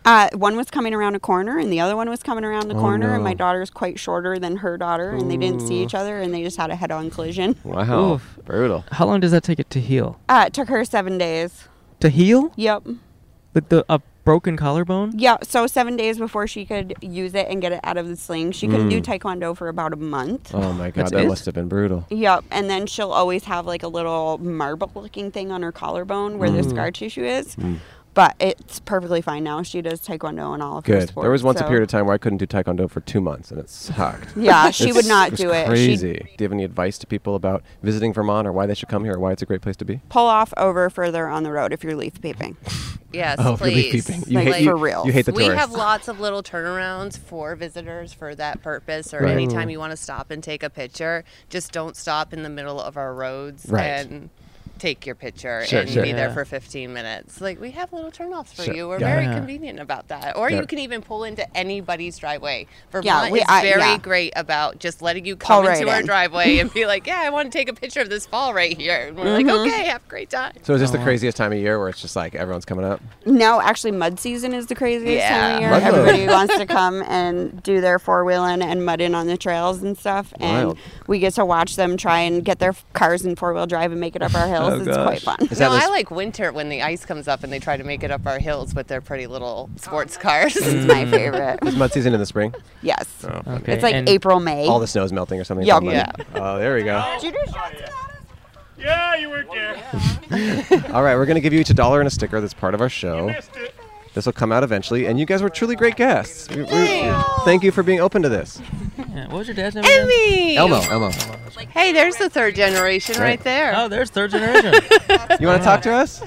H: Uh, one was coming around a corner, and the other one was coming around the
B: Oh,
H: corner.
B: no.
H: And my daughter's quite shorter than her daughter, and they didn't see each
A: Ooh.
H: other, and they just had a head-on collision.
B: Wow.
A: Oof.
B: Brutal.
A: How long does that take it to heal?
H: Uh, it took her seven days.
A: To heal?
H: Yep.
A: Like the a broken collarbone?
H: Yeah, so seven days before she could use it and get it out of the sling. She couldn't do
B: Mm.
H: taekwondo for about a month.
B: Oh my god,
A: That's
B: that
A: it?
B: must have been brutal.
H: Yep, and then she'll always have like a little marble-looking thing on her collarbone where the
B: Mm.
H: scar tissue is.
B: Mm.
H: But it's perfectly fine now. She does taekwondo and all of her
B: Good.
H: sports.
B: There was once
H: so-
B: a period of time where I couldn't do taekwondo for two months, and it
H: *laughs*
B: sucked.
H: Yeah, she
B: It's-
H: would not
B: was
H: do it. She'd-
B: Crazy. Do you have any advice to people about visiting Vermont or why they should come here or why it's a great place to be?
H: Pull off over further on the road if you're leaf
A: *laughs*
H: peeping.
N: Yes,
B: Oh, for leaf
N: please.
B: peeping. You hate- you-
H: for real.
B: you hate the
N: we have
B: tourists.
N: lots of little turnarounds for visitors for that purpose, or
B: Right.
N: anytime
B: Ooh.
N: you want to stop and take a picture, just don't stop in the middle of our roads.
B: Right.
N: And take your picture
P: Sure,
N: and
P: sure.
N: be there
P: Yeah.
N: for 15 minutes. Like we have little turnoffs for
P: Sure.
N: you. We're
P: Yeah.
N: very
P: Yeah.
N: convenient about that. Or
P: Yeah.
N: you can even pull into anybody's driveway. Vermont
H: Yeah, we-
N: is
H: I-
N: very
H: yeah.
N: great about just letting you
H: Pull
N: come into
H: right
N: our
H: in. *laughs*
N: driveway and be like, "Yeah, I want to take a picture of this fall right here." And we're like,
H: Mhm.
N: "Okay, have a great time."
B: So is this
H: Oh,
B: the
H: wow.
B: craziest time of year where it's just like everyone's coming up?
H: No, actually, mud season is the craziest time
B: Yeah.
H: of year.
B: Mud load.
H: Everybody wants
B: *laughs*
H: to come and do their four wheeling and mudding on the trails and stuff. And
B: Wild.
H: we get to watch them try and get their cars in four wheel drive and make it
B: *laughs*
H: up our
B: Oh,
H: hills. it's quite fun.
N: no, I like winter when the ice comes up and they try to make it up our hills with their pretty little sports cars.
H: It's my favorite.
B: Mm. Is mud season in the spring?
H: Yes.
B: Oh,
H: Okay, It's like and- April, May.
B: All the snow's melting or something.
H: Yeah.
B: it's all mud. Oh, *laughs* there we go.
Q: Yeah, you were there.
B: *laughs* all right, we're gonna give you each a dollar and a sticker. That's part of our show. This will come out eventually, and you guys were truly great guests. We- we- thank you for being open to this.
A: Yeah, what was your dad's name? again?
N: Emmy.
B: Elmo, Elmo,
N: Hey, there's the third generation
B: Right.
N: right there.
A: Oh, there's third
N: *laughs*
A: generation.
B: you want to talk to us?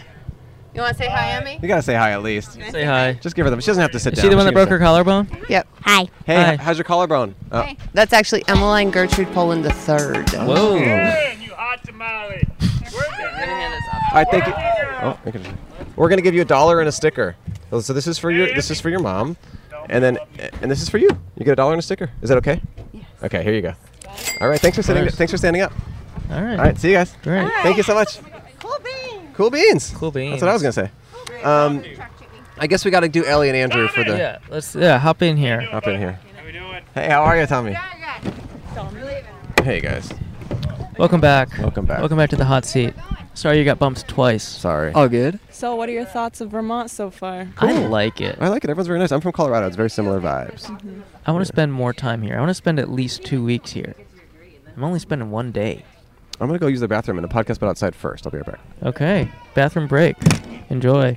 N: You want to say hi, Emmy?
B: You gotta say hi at least. Say
A: hi.
B: Just give her them. She doesn't have to sit
A: Is
B: down.
A: she the one
B: but
A: that broke her
B: can
A: collarbone?
N: Yep.
H: Hi.
B: say- Hey, h- how's your collarbone? Oh.
N: That's actually Emmeline Gertrude Poland the third.
B: Whoa. Yeah,
N: you
B: All right, thank you. Oh, we can- we're gonna give you a dollar and a sticker. So so this is for your this is for your mom, and then and this is for you. You get a dollar and a sticker. Is that okay? Okay, here you go. All right, thanks for sitting.
F: Nice.
B: Thanks for standing up.
F: All right.
B: All right, see you guys.
F: All right.
B: Thank you so much. Cool beans.
A: Cool beans.
B: That's what I was gonna say. Um, I guess we got to do Ellie and Andrew for the.
A: Yeah, let's- yeah, hop in here.
B: Hop in here. Hey, how are you, Tommy? Hey guys.
A: Welcome back.
B: Welcome back.
A: Welcome back to the hot seat. Sorry you got bumped twice.
B: Sorry.
A: All good.
G: So, what are your thoughts of Vermont so far?
A: I like it.
B: I like it. Everyone's very nice. I'm from Colorado. It's very similar vibes.
G: Mm-hmm.
A: I want to spend more time here. I want to spend at least two weeks here. I'm only spending one day.
B: I'm gonna go use the bathroom and the podcast, but outside first. I'll be right back.
A: Okay. Bathroom break. Enjoy.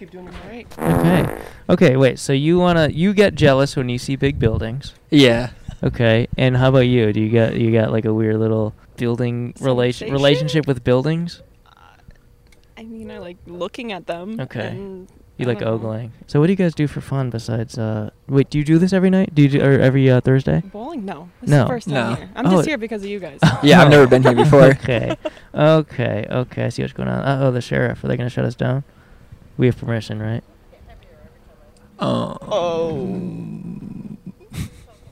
A: Okay. Okay. Wait. So you wanna you get jealous when you see big buildings?
E: Yeah.
A: Okay. And how about you? Do you got you got like a weird little building relation
G: Sensation?
A: relationship with buildings?
G: I mean, I like looking at them.
A: Okay.
G: and
A: You
G: I
A: like
G: don't know.
A: ogling. So what do you guys do for fun besides? uh Wait, do you do this every night? Do you do or every uh, Thursday?
G: Bowling? No. This
A: no.
G: is the first time
E: No.
G: here. I'm
A: Oh,
G: just
A: it-
G: here because of
A: *laughs*
G: you guys.
E: Yeah, I've never been here before.
A: okay. Okay. Okay. I see what's going on. Uh oh, the sheriff. Are they going to shut us down? We have permission, right?
E: Oh.
B: Oh.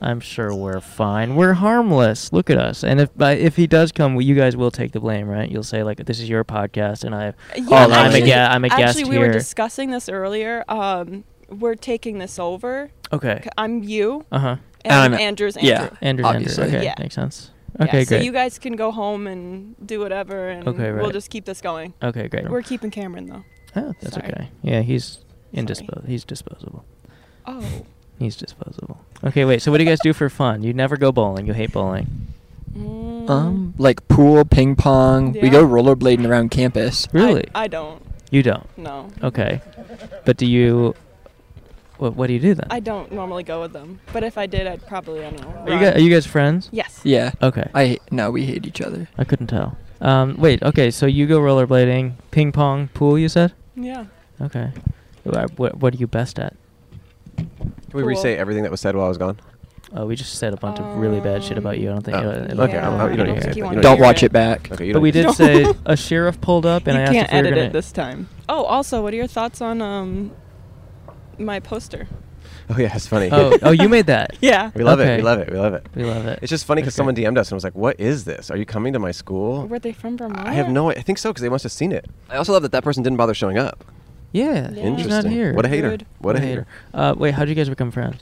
A: I'm sure we're fine. We're harmless. Look at us. And if I if he does come, we- you guys will take the blame, right? You'll say like, "This is your podcast, and I, oh,
G: Yeah,
A: I'm, a
G: actually-
A: ga- I'm a guest
G: Actually, we
A: here."
G: were discussing this earlier. Um, we're taking this over.
A: Okay.
G: C- I'm you.
A: uh huh.
G: And I'm Andrew's Andrew.
A: Andrew's
E: obviously.
A: Andrew. Okay,
G: Yeah.
A: makes sense.
G: Yeah,
A: Okay,
G: So
A: great.
G: you guys can go home and do whatever, and
A: Okay,
G: we'll
A: right.
G: just keep this going.
A: Okay, great.
G: We're keeping Cameron though.
A: oh, that's
G: Sorry.
A: okay. Yeah, he's indisposable. He's disposable.
G: Oh.
A: He's disposable. Okay, wait. So what do you guys do for fun? You never go bowling. You hate bowling.
G: Mm.
E: Um, like pool, ping pong. We
G: Yeah.
E: go rollerblading around campus.
A: Really?
G: I don't.
A: You don't.
G: No.
A: Okay, but do you? What What do you do then?
G: I don't normally go with them, but if I did, I'd probably I don't know.
A: Are you
G: run.
A: guys, are you guys friends?
G: Yes.
E: Yeah.
A: Okay.
E: I no, we hate each other.
A: I couldn't tell. Um, wait. Okay. So you go rollerblading, ping pong, pool. You said.
G: Yeah.
A: Okay. What What, what are you best at?
B: Can we re-say everything that was said while I was gone?
A: Oh, we just said a bunch of really bad shit about you. uh, I don't think.
B: Oh,
A: I don't- I don't
B: okay,
A: think
B: I'm-
A: I
B: I'm- you don't
A: wanna
B: need to
A: hear
B: say
A: it.
B: You
E: that. wanna Don't hear watch it. it back.
B: Okay, you
A: but
B: don't
A: we
B: need
A: did
B: to
A: say
B: *laughs*
A: a sheriff pulled up and
G: you
A: I asked
G: can't
A: if we were
G: edit
A: gonna.
G: it this time. Oh, also, what are your thoughts on um, my poster?
B: Oh yeah, it's funny.
A: Oh, oh, you made that.
G: Yeah.
B: *laughs* We love it.
A: Okay.
B: We love it. We love it.
A: We love it.
B: It's just funny because
A: Okay.
B: someone DM'd us and was like, "What is this? Are you coming to my school?"
G: Were they from Vermont?
B: I have no. I think so because they must have seen it. I also love that that person didn't bother showing up.
A: Yeah. He's not
B: Interesting.
A: here.
B: What a hater. What a hater.
A: Uh, wait. How would you guys become friends?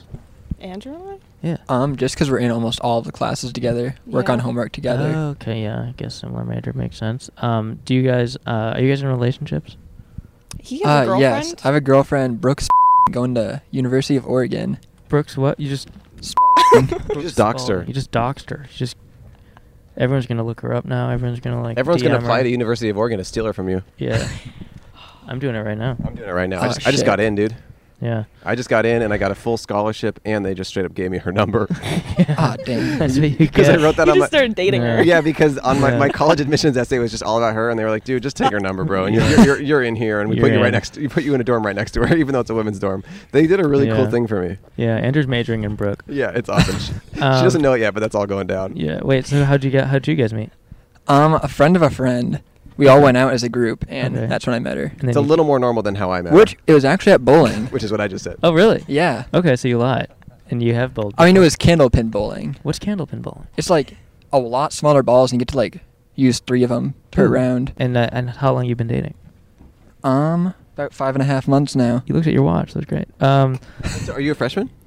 G: Andrew and
A: Yeah.
E: Um, just because we're in almost all of the classes together, work
G: Yeah.
E: on homework together.
A: Oh, okay, yeah, I guess similar major makes sense. Um, do you guys uh, are you guys in relationships?
E: *laughs*
G: I? He has a
E: uh,
G: girlfriend.
E: yes, I have a girlfriend, Brooks, going to University of Oregon.
A: Brooks, what you just
B: You just doxed her.
A: You just doxed her. You just everyone's gonna look her up now. Everyone's gonna like.
B: Everyone's gonna
A: DM her.
B: apply to University of Oregon to steal her from you. *laughs*
A: Yeah, I'm doing it right now.
B: I'm doing it right now. I,
A: Oh,
B: just, I just
A: shit.
B: got in, dude.
A: Yeah.
B: I just got in and I got a full scholarship, and they just straight up gave me
A: *laughs*
B: her number.
E: Ah, dang.
A: That's what you
B: Because I
A: get.
B: wrote that
G: You
B: on
G: just
B: my,
G: started dating her.
B: Yeah, because on my,
A: Yeah.
B: my college admissions essay was just all about her, and they were like, "Dude, just take her number,
A: *laughs*
B: bro, and you're, you're, you're in here." And we put
A: You're
B: you right
A: in.
B: next, we put you in a dorm right next to her, *laughs* even though it's a women's dorm. They did a really cool
A: Yeah.
B: thing for me.
A: Yeah, Andrew's majoring in Brooke.
B: Yeah,
A: *laughs*
B: it's awesome. she, she
A: Um,
B: doesn't know it yet, but that's all going down.
A: Yeah. Wait. So how'd you get? How'd you guys meet?
E: Um, a friend of a friend. we all went out as a group, and
B: Okay.
E: that's when I met her.
B: It's a little more normal than how I met.
E: Which it was actually at bowling.
B: Which is what I just said.
A: Oh, really?
E: Yeah.
A: Okay, so you lied, and you have bowled.
E: I mean, it was candlepin bowling.
A: What's candlepin bowling?
E: It's like a lot smaller balls, and you get to like use three of them per
A: Ooh.
E: round.
A: And uh, and how long you been dating?
E: Um, about five and a half months now.
A: You looked at your watch. That's great. Um,
B: So are you a freshman?
E: *laughs*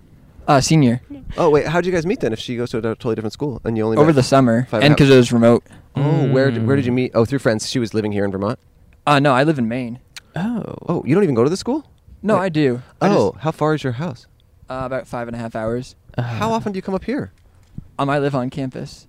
E: Uh, senior
B: Oh wait, how'd you guys meet then? If she goes to a totally different school and you only
E: over
B: met
E: the summer,
B: five
E: and
B: half-
E: because it was remote. Mm.
B: Oh, where did, where did you meet? Oh, through friends. She was living here in Vermont.
E: Uh, no, I live in Maine.
A: Oh.
B: Oh, you don't even go to the school?
E: No,
B: Wait.
E: I do. I just-
B: Oh, how far is your house? Uh,
E: uh, about five and a half hours.
A: Uh.
B: How often do you come up here?
E: Um, I live on campus.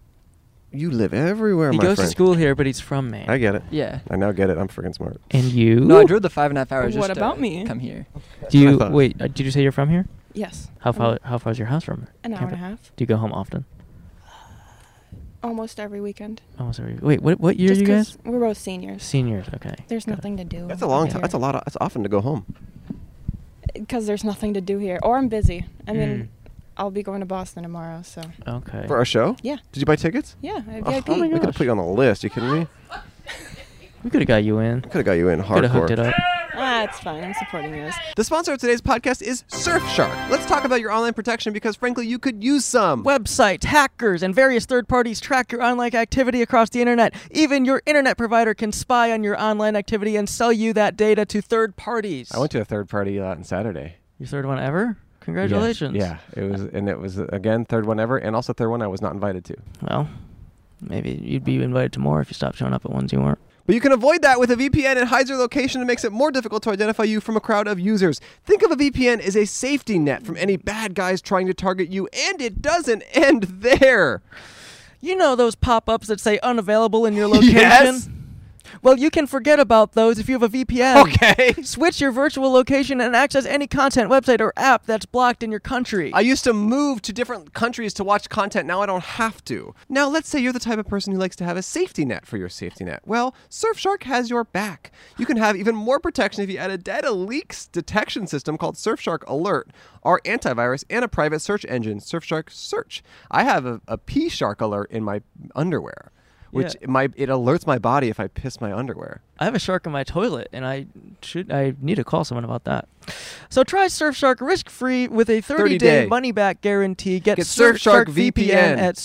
B: You live everywhere,
A: He
B: my
A: goes
B: friend.
A: to school here, but he's from Maine.
B: I get it.
E: Yeah.
B: I now get it. I'm freaking smart.
A: And you?
E: No, I drove the five and a half hours.
G: What
E: just
G: about
E: to
G: me?
E: Come here.
A: Do
B: what I
A: you
B: thought.
A: wait? Uh, did you say you're from here?
G: Yes.
A: How far?
G: Um,
A: How far is your house from?
G: an hour and a
A: campus?
G: half.
A: Do you go home often?
G: Almost every weekend.
A: Almost every. Wait, what? What year
G: Just
A: you
G: 'cause
A: guys?
G: We're both seniors.
A: Seniors. Okay.
G: There's nothing to do.
B: That's a long time. That's a lot. Of, that's often to go home.
G: Because there's nothing to do here, or I'm busy. I mean, I'll be going to Boston tomorrow, so.
A: Okay.
B: For our show?
G: Yeah.
B: Did you buy tickets?
G: Yeah, I have
B: Oh,
G: VIP.
B: we could have put you on the list. You
G: *laughs*
B: kidding me?
A: We could have got you in.
B: Could have got you in
A: Coulda hooked
B: hardcore.
A: it up.
G: Ah, it's fine. I'm supporting yours.
B: The sponsor of today's podcast is Surfshark. Let's talk about your online protection because, frankly, you could use some.
M: Websites, hackers, and various third parties track your online activity across the internet. Even your internet provider can spy on your online activity and sell you that data to third parties.
P: I went to a third party uh, on Saturday.
A: Your third one ever?
P: Yes,
A: Congratulations.
P: Yeah, it was, and it was uh, again third one ever, and also third one I was not invited to.
A: Well, maybe you'd be invited to more if you stopped showing up at ones you weren't.
B: But you can avoid that with a VPN and hides your location and makes it more difficult to identify you from a crowd of users. Think of a VPN as a safety net from any bad guys trying to target you, and it doesn't end there.
M: You know those pop ups that say unavailable
B: *laughs*
M: in your location?
B: Yes.
M: Well, you can forget about those if you have a VPN.
B: Okay. *laughs*
M: Switch your virtual location and access any content, website, or app that's blocked in your country.
B: I used to move to different countries to watch content. Now I don't have to. Now, let's say you're the type of person who likes to have a safety net for your safety net. Well, Surfshark has your back. You can have even more protection if you add a data leaks detection system called Surfshark Alert, our antivirus, and a private search engine, Surfshark Search. I have a, a P Shark Alert in my underwear, which
A: Yeah. Uh,
B: my it alerts my body if I piss my underwear.
A: I have a shark in my toilet, and I should. I need to call someone about that.
M: So try Surfshark risk-free with a 30-day
B: 30-day.
M: money-back guarantee. Get,
B: Get Surfshark VPN.
M: at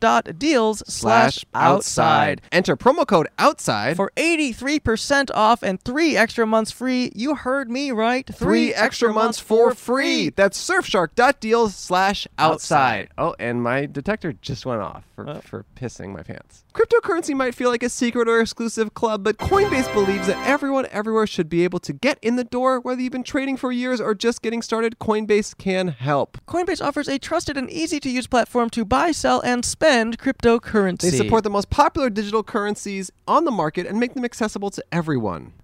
M: surfshark.deals slash outside.
B: Enter promo code outside
M: For 83% off and three extra months free, you heard me right.
B: three extra months for free. That's surfshark.deals slash outside. Oh, and my detector just went off for, for pissing my pants. Cryptocurrency might feel like a secret or exclusive club, but Coinbase believes that everyone everywhere should be able to get in the door, whether you've been trading for years or just getting started. Coinbase can help.
M: Coinbase offers a trusted and easy-to-use platform to buy, sell, and spend cryptocurrency.
B: They support the most popular digital currencies on the market and make them accessible to everyone.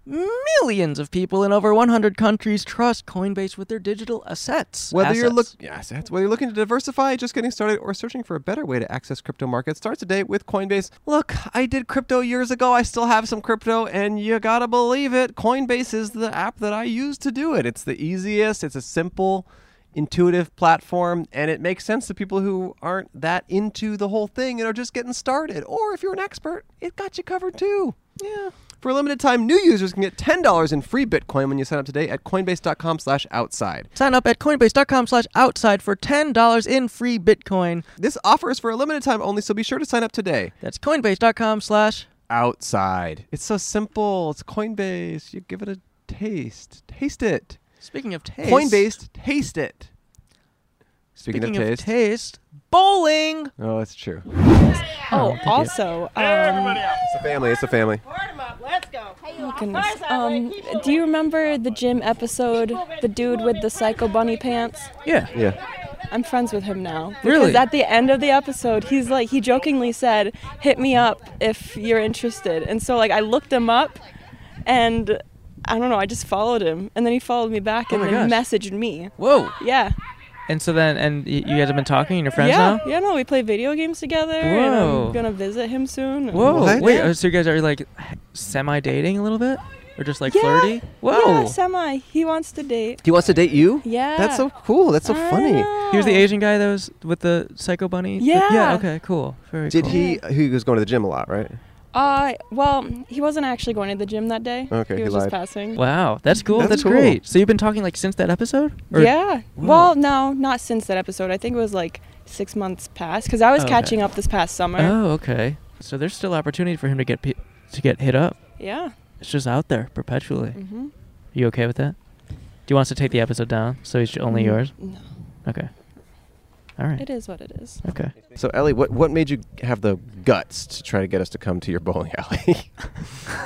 M: Millions of people in over 100 countries trust Coinbase with their digital assets.
B: Whether you're
M: Assets.
B: look yeah, assets. whether you're looking to diversify, just getting started, or searching for a better way to access crypto markets, start today with Coinbase. Look, I did crypto years ago. I still have some crypto, and you gotta believe it. Coinbase is the app that I use to do it. It's the easiest. It's a simple, intuitive platform, and it makes sense to people who aren't that into the whole thing and are just getting started. Or if you're an expert, it got you covered too. Yeah. For a limited time, new users can get $10 in free Bitcoin when you sign up today at coinbase.com slash outside.
M: Sign up at coinbase.com slash outside for $10 in free Bitcoin.
B: This offer is for a limited time only, so be sure to sign up today.
M: That's coinbase.com slash
B: outside. It's so simple. It's Coinbase. You give it a taste. Taste it.
M: Speaking of taste.
B: Coinbase, taste it. Speaking,
M: Speaking
B: of
M: of
B: taste.
M: taste. Bowling!
B: oh, that's true.
G: Oh, also, um,
B: It's a family. It's a family.
G: oh goodness. Um, do you remember the gym episode, the dude with the psycho bunny pants?
A: Yeah.
B: Yeah.
G: I'm friends with him now.
A: Really?
G: Because at the end of the episode, he's like, he jokingly said, "Hit me up if you're interested." And so, like, I looked him up, and I don't know, I just followed him, and then he followed me back,
A: Oh
G: and
A: my
G: then
A: gosh.
G: messaged me.
A: Whoa.
G: Yeah.
A: And so then, and y- you guys have been talking, and you're friends
G: yeah.
A: now.
G: Yeah. No, we play video games together. And
A: Whoa.
G: I'm gonna visit him soon. and-
A: Whoa. Wait.
G: Yeah.
A: oh, So you guys are like semi dating a little bit, or just like
G: Yeah.
A: flirty?
G: Yeah,
A: Whoa.
G: semi. He wants to date.
B: He wants to date you?
G: Yeah.
B: That's so cool. That's so funny.
A: He was the Asian guy that was with the psycho bunny. Th-
G: Yeah.
A: yeah. Okay. Cool. Very
B: Did
A: cool.
B: he? He was going to the gym a lot, right?
G: Uh, well, he wasn't actually going to the gym that day.
B: Okay,
G: he
B: he
G: was
B: lied.
G: just passing.
A: Wow, that's cool. That's,
B: That's cool.
A: great. So you've been talking like since that episode? Or-
G: yeah. Well, no, not since that episode. I think it was like six months past because I was
B: Oh,
A: Oh, Okay.
G: catching up this past summer.
A: Oh, okay. So there's still opportunity for him to get pe- to get hit up.
G: Yeah.
A: It's just out there perpetually.
G: Mhm.
A: You okay with that? Do you want us to take the episode down so it's only
G: Mm,
A: yours?
G: no.
A: Okay. All right.
G: It is what it is.
A: Okay.
B: So Ellie, what what made you have the guts to try to get us to come to your bowling alley? *laughs*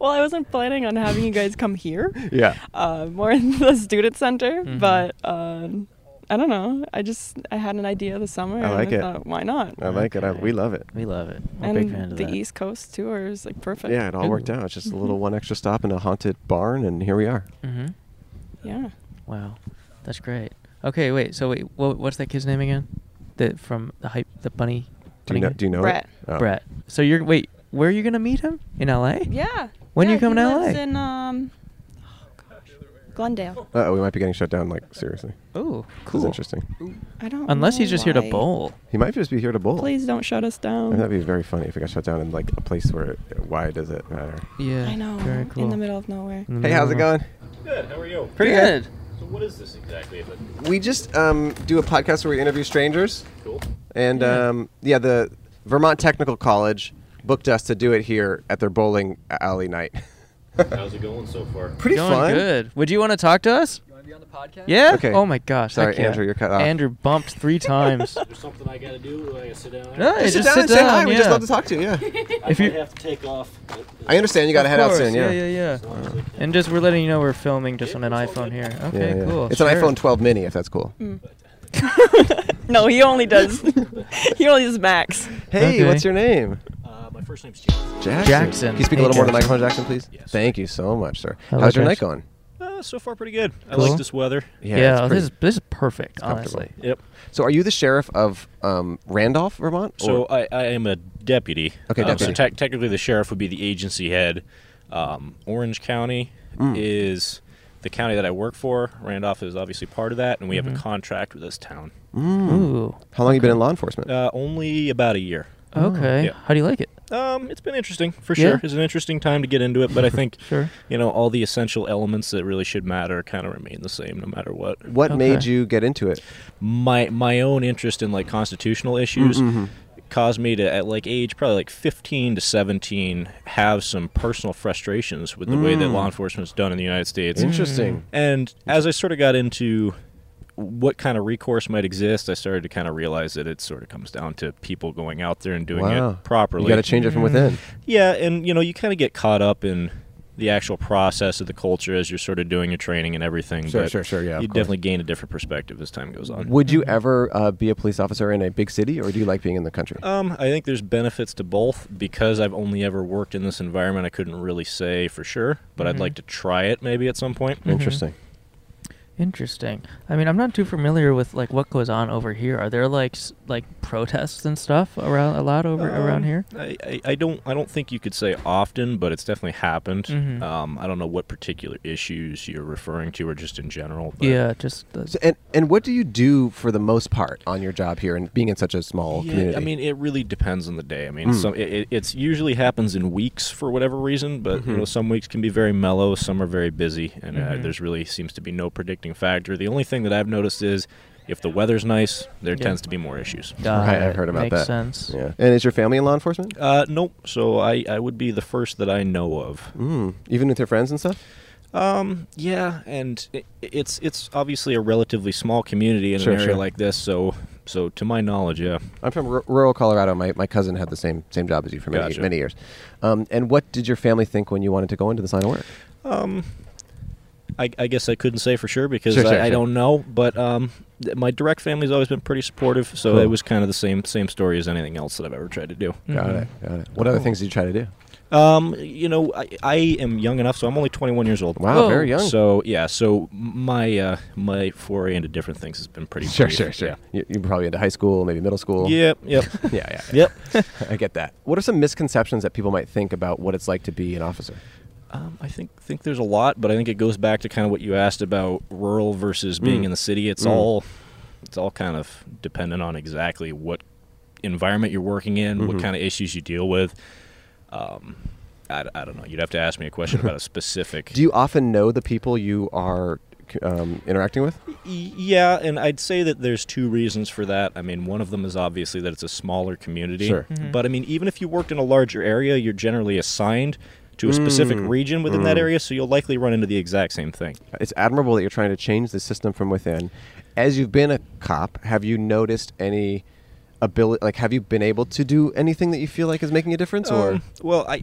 G: Well, I wasn't planning on having you guys come here.
B: *laughs* Yeah.
G: Uh, more in the student center,
B: Mhm.
G: but um, I don't know. I just I had an idea this summer.
B: I like
G: and
B: it.
G: I thought, Why not?
B: I like it. I, we love it.
A: We love it.
G: and the East Coast tour is like perfect.
B: Yeah, it all worked out.
G: *laughs*
B: It's just a little one extra stop in a haunted barn, and here we are.
A: Mhm.
G: Yeah.
A: Wow, that's great. Okay, wait. So wait, wha what's that kid's name again? The from the hype, the bunny.
B: Do you
A: bunny
B: know-
A: guy?
B: do you know it? Brett. Oh.
A: Brett. So you're wait. Where are you gonna meet him? In L.A.
G: Yeah.
A: When
G: yeah,
A: are you coming
G: he
A: to L.A.
G: lives in um, oh gosh, Glendale.
B: Uh oh, we might be getting shut down. Like seriously.
A: Oh,
B: cool. This is interesting.
G: I don't.
A: Unless he's
G: know
A: just here to
G: why.
A: bowl.
B: He might just be here to bowl.
G: Please don't shut us
B: I
G: down.
B: mean, that'd be very funny if it got shut down in like a place where. It, why does it matter?
A: Yeah.
G: I know.
A: Very cool.
G: In the middle of nowhere.
B: Hey, how's it going?
R: Good. How are you?
B: Pretty Good.
R: So what is this exactly? Is it-
B: We just um, do a podcast where we interview strangers.
R: Cool.
B: And yeah. Um, yeah, the Vermont Technical College booked us to do it here at their bowling alley night. *laughs*
R: How's it going so far?
B: Pretty
A: Going
B: fun.
A: good. Would you want to talk to us? You want to be on the podcast? Yeah.
B: Okay.
A: Oh my gosh.
B: Sorry,
A: heck yeah.
B: Andrew, you're cut off.
A: Andrew bumped
G: *laughs*
B: *laughs*
A: three times.
R: Is there something I gotta do? Do I gotta sit down?
A: No, just
B: Just sit down
A: sit
B: and say hi.
A: down,
B: We just
A: yeah.
B: love to talk to you. Yeah.
R: *laughs* I
A: If
R: might
A: you-
R: have to take off.
B: I understand you got to
A: Of
B: head out
A: course,
B: soon. Yeah.
A: yeah, yeah. yeah. And just we're letting you know we're filming just on an iPhone here. Okay,
B: Yeah, yeah.
A: cool.
B: It's
A: sure.
B: an iPhone 12 mini, if that's cool.
G: No, he only
B: *laughs*
G: does. he only does Max.
B: Hey, what's your name?
R: Uh, my first name's James.
B: Jackson.
A: Jackson.
B: Can you speak
A: Hey,
B: a little more to the
A: Jackson.
B: microphone, Jackson, please? Thank you so much, sir.
A: Hello,
B: How's your night
A: Jackson.
B: going?
R: Uh, so far, pretty good. I
B: Cool.
R: like this weather.
A: Yeah, this
B: it's pretty-
A: is this is perfect.
B: it's comfortable.
A: Honestly,
R: Yep.
B: So, are you the sheriff of um, Randolph, Vermont?
R: So
B: or-
R: I, I am a deputy.
B: Okay,
R: Um,
B: deputy.
R: so tec- technically, the sheriff would be the agency head. Um, Orange County
B: Mm.
R: is the county that I work for. Randolph is obviously part of that, and we
B: Mm-hmm.
R: have a contract with this town.
B: Mm.
A: Ooh.
B: How long you been in law enforcement?
R: Uh, only about a year.
A: Okay.
R: Yeah.
A: How do you like it?
R: Um, it's been interesting for
A: Yeah?
R: sure. It's an interesting time to get into it, but
A: *laughs*
R: I think
A: Sure.
R: you know all the essential elements that really should matter kind of remain the same no matter what.
B: What made you get into it?
R: My my own interest in like constitutional issues
B: mhm.
R: caused me to at like age probably like 15 to 17 have some personal frustrations with the way that
B: Mm.
R: law enforcement's done in the United States.
B: Interesting. Mm.
R: And as I sort of got into what kind of recourse might exist, I started to kind of realize that it sort of comes down to people going out there and doing
B: Wow.
R: it properly.
B: You got to change it from within.
R: Yeah, and you know, you kind of get caught up in the actual process of the culture as you're sort of doing your training and everything.
B: Sure,
R: but
B: sure, sure, yeah, of
R: you
B: course.
R: definitely gain a different perspective as time goes on.
B: Would you ever uh, be a police officer in a big city, or do you like being in the country?
R: Um, I think there's benefits to both because I've only ever worked in this environment. I couldn't really say for sure, but I'd
A: Mhm.
R: like to try it maybe at some point.
B: Mm-hmm. Interesting.
A: Interesting. I mean, I'm not too familiar with like what goes on over here. Are there like s- like protests and stuff around a lot over around
R: Um,
A: here?
R: I, I, I don't I don't think you could say often, but it's definitely happened.
A: Mhm.
R: Um, I don't know what particular issues you're referring to, or just in general. But
A: Yeah, just the,
B: So, and and what do you do for the most part on your job here, and being in such a small
R: Yeah,
B: community?
R: I mean, it really depends on the day. I mean,
B: Mm.
R: some it, it it's usually happens in weeks for whatever reason, but you
B: Mhm.
R: know, some weeks can be very mellow, some are very busy, and uh,
A: Mm-hmm.
B: Mhm.
R: there's really seems to be no predicting factor. The only thing that I've noticed is if the weather's nice, there
A: Yeah.
R: tends to be more issues.
A: Got
B: Right, I've
A: it.
B: heard about
A: Makes
B: that.
A: sense.
B: Yeah. And is your family in law enforcement?
R: Uh, nope. So I, I would be the first that I know of.
B: Mm. Even with your friends and stuff?
R: Um, yeah, and it, it's it's obviously a relatively small community in
B: Sure,
R: an area
B: sure.
R: like this. So so to my knowledge, yeah.
B: I'm from r- rural Colorado. My, my cousin had the same same job as you for many
R: Gotcha.
B: many years. Um, and what did your family think when you wanted to go into this line of work?
R: Um, I, I guess I couldn't say for sure because
B: Sure,
R: I,
B: sure,
R: I
B: sure.
R: don't know. But um, th- my direct family's always been pretty supportive, so
B: Cool.
R: it was kind of the same same story as anything else that I've ever tried to do.
B: Got it. Got it. What other
R: Cool.
B: things did you try to do?
R: Um, you know, I, I am young enough, so I'm only 21 years old.
B: Wow, Whoa. very young.
R: So yeah, so my uh, my foray into different things has been pretty.
B: Sure,
R: brief,
B: sure, sure.
R: yeah.
B: You, you probably into high school, maybe middle school.
R: Yep, yep.
B: *laughs* yeah, yeah,
R: Yep.
B: *laughs* I get that. What are some misconceptions that people might think about what it's like to be an officer?
R: Um, I think think there's a lot, but I think it goes back to kind of what you asked about rural versus being
B: Mm.
R: in the city. It's
B: Mm.
R: all it's all kind of dependent on exactly what environment you're working in, what
B: Mhm.
R: kind of issues you deal with. Um, I, I don't know. You'd have to ask me a question *laughs* about a specific.
B: Do you often know the people you are um, interacting with?
R: Y- Yeah, and I'd say that there's two reasons for that. I mean, one of them is obviously that it's a smaller community.
B: Sure. Mhm.
R: But I mean, even if you worked in a larger area, you're generally assigned to a specific
B: Mm.
R: region within that
B: Mm.
R: area, so you'll likely run into the exact same thing.
B: It's admirable that you're trying to change the system from within. As you've been a cop, have you noticed any ability? Like, have you been able to do anything that you feel like is making a difference? or
R: Um, well, I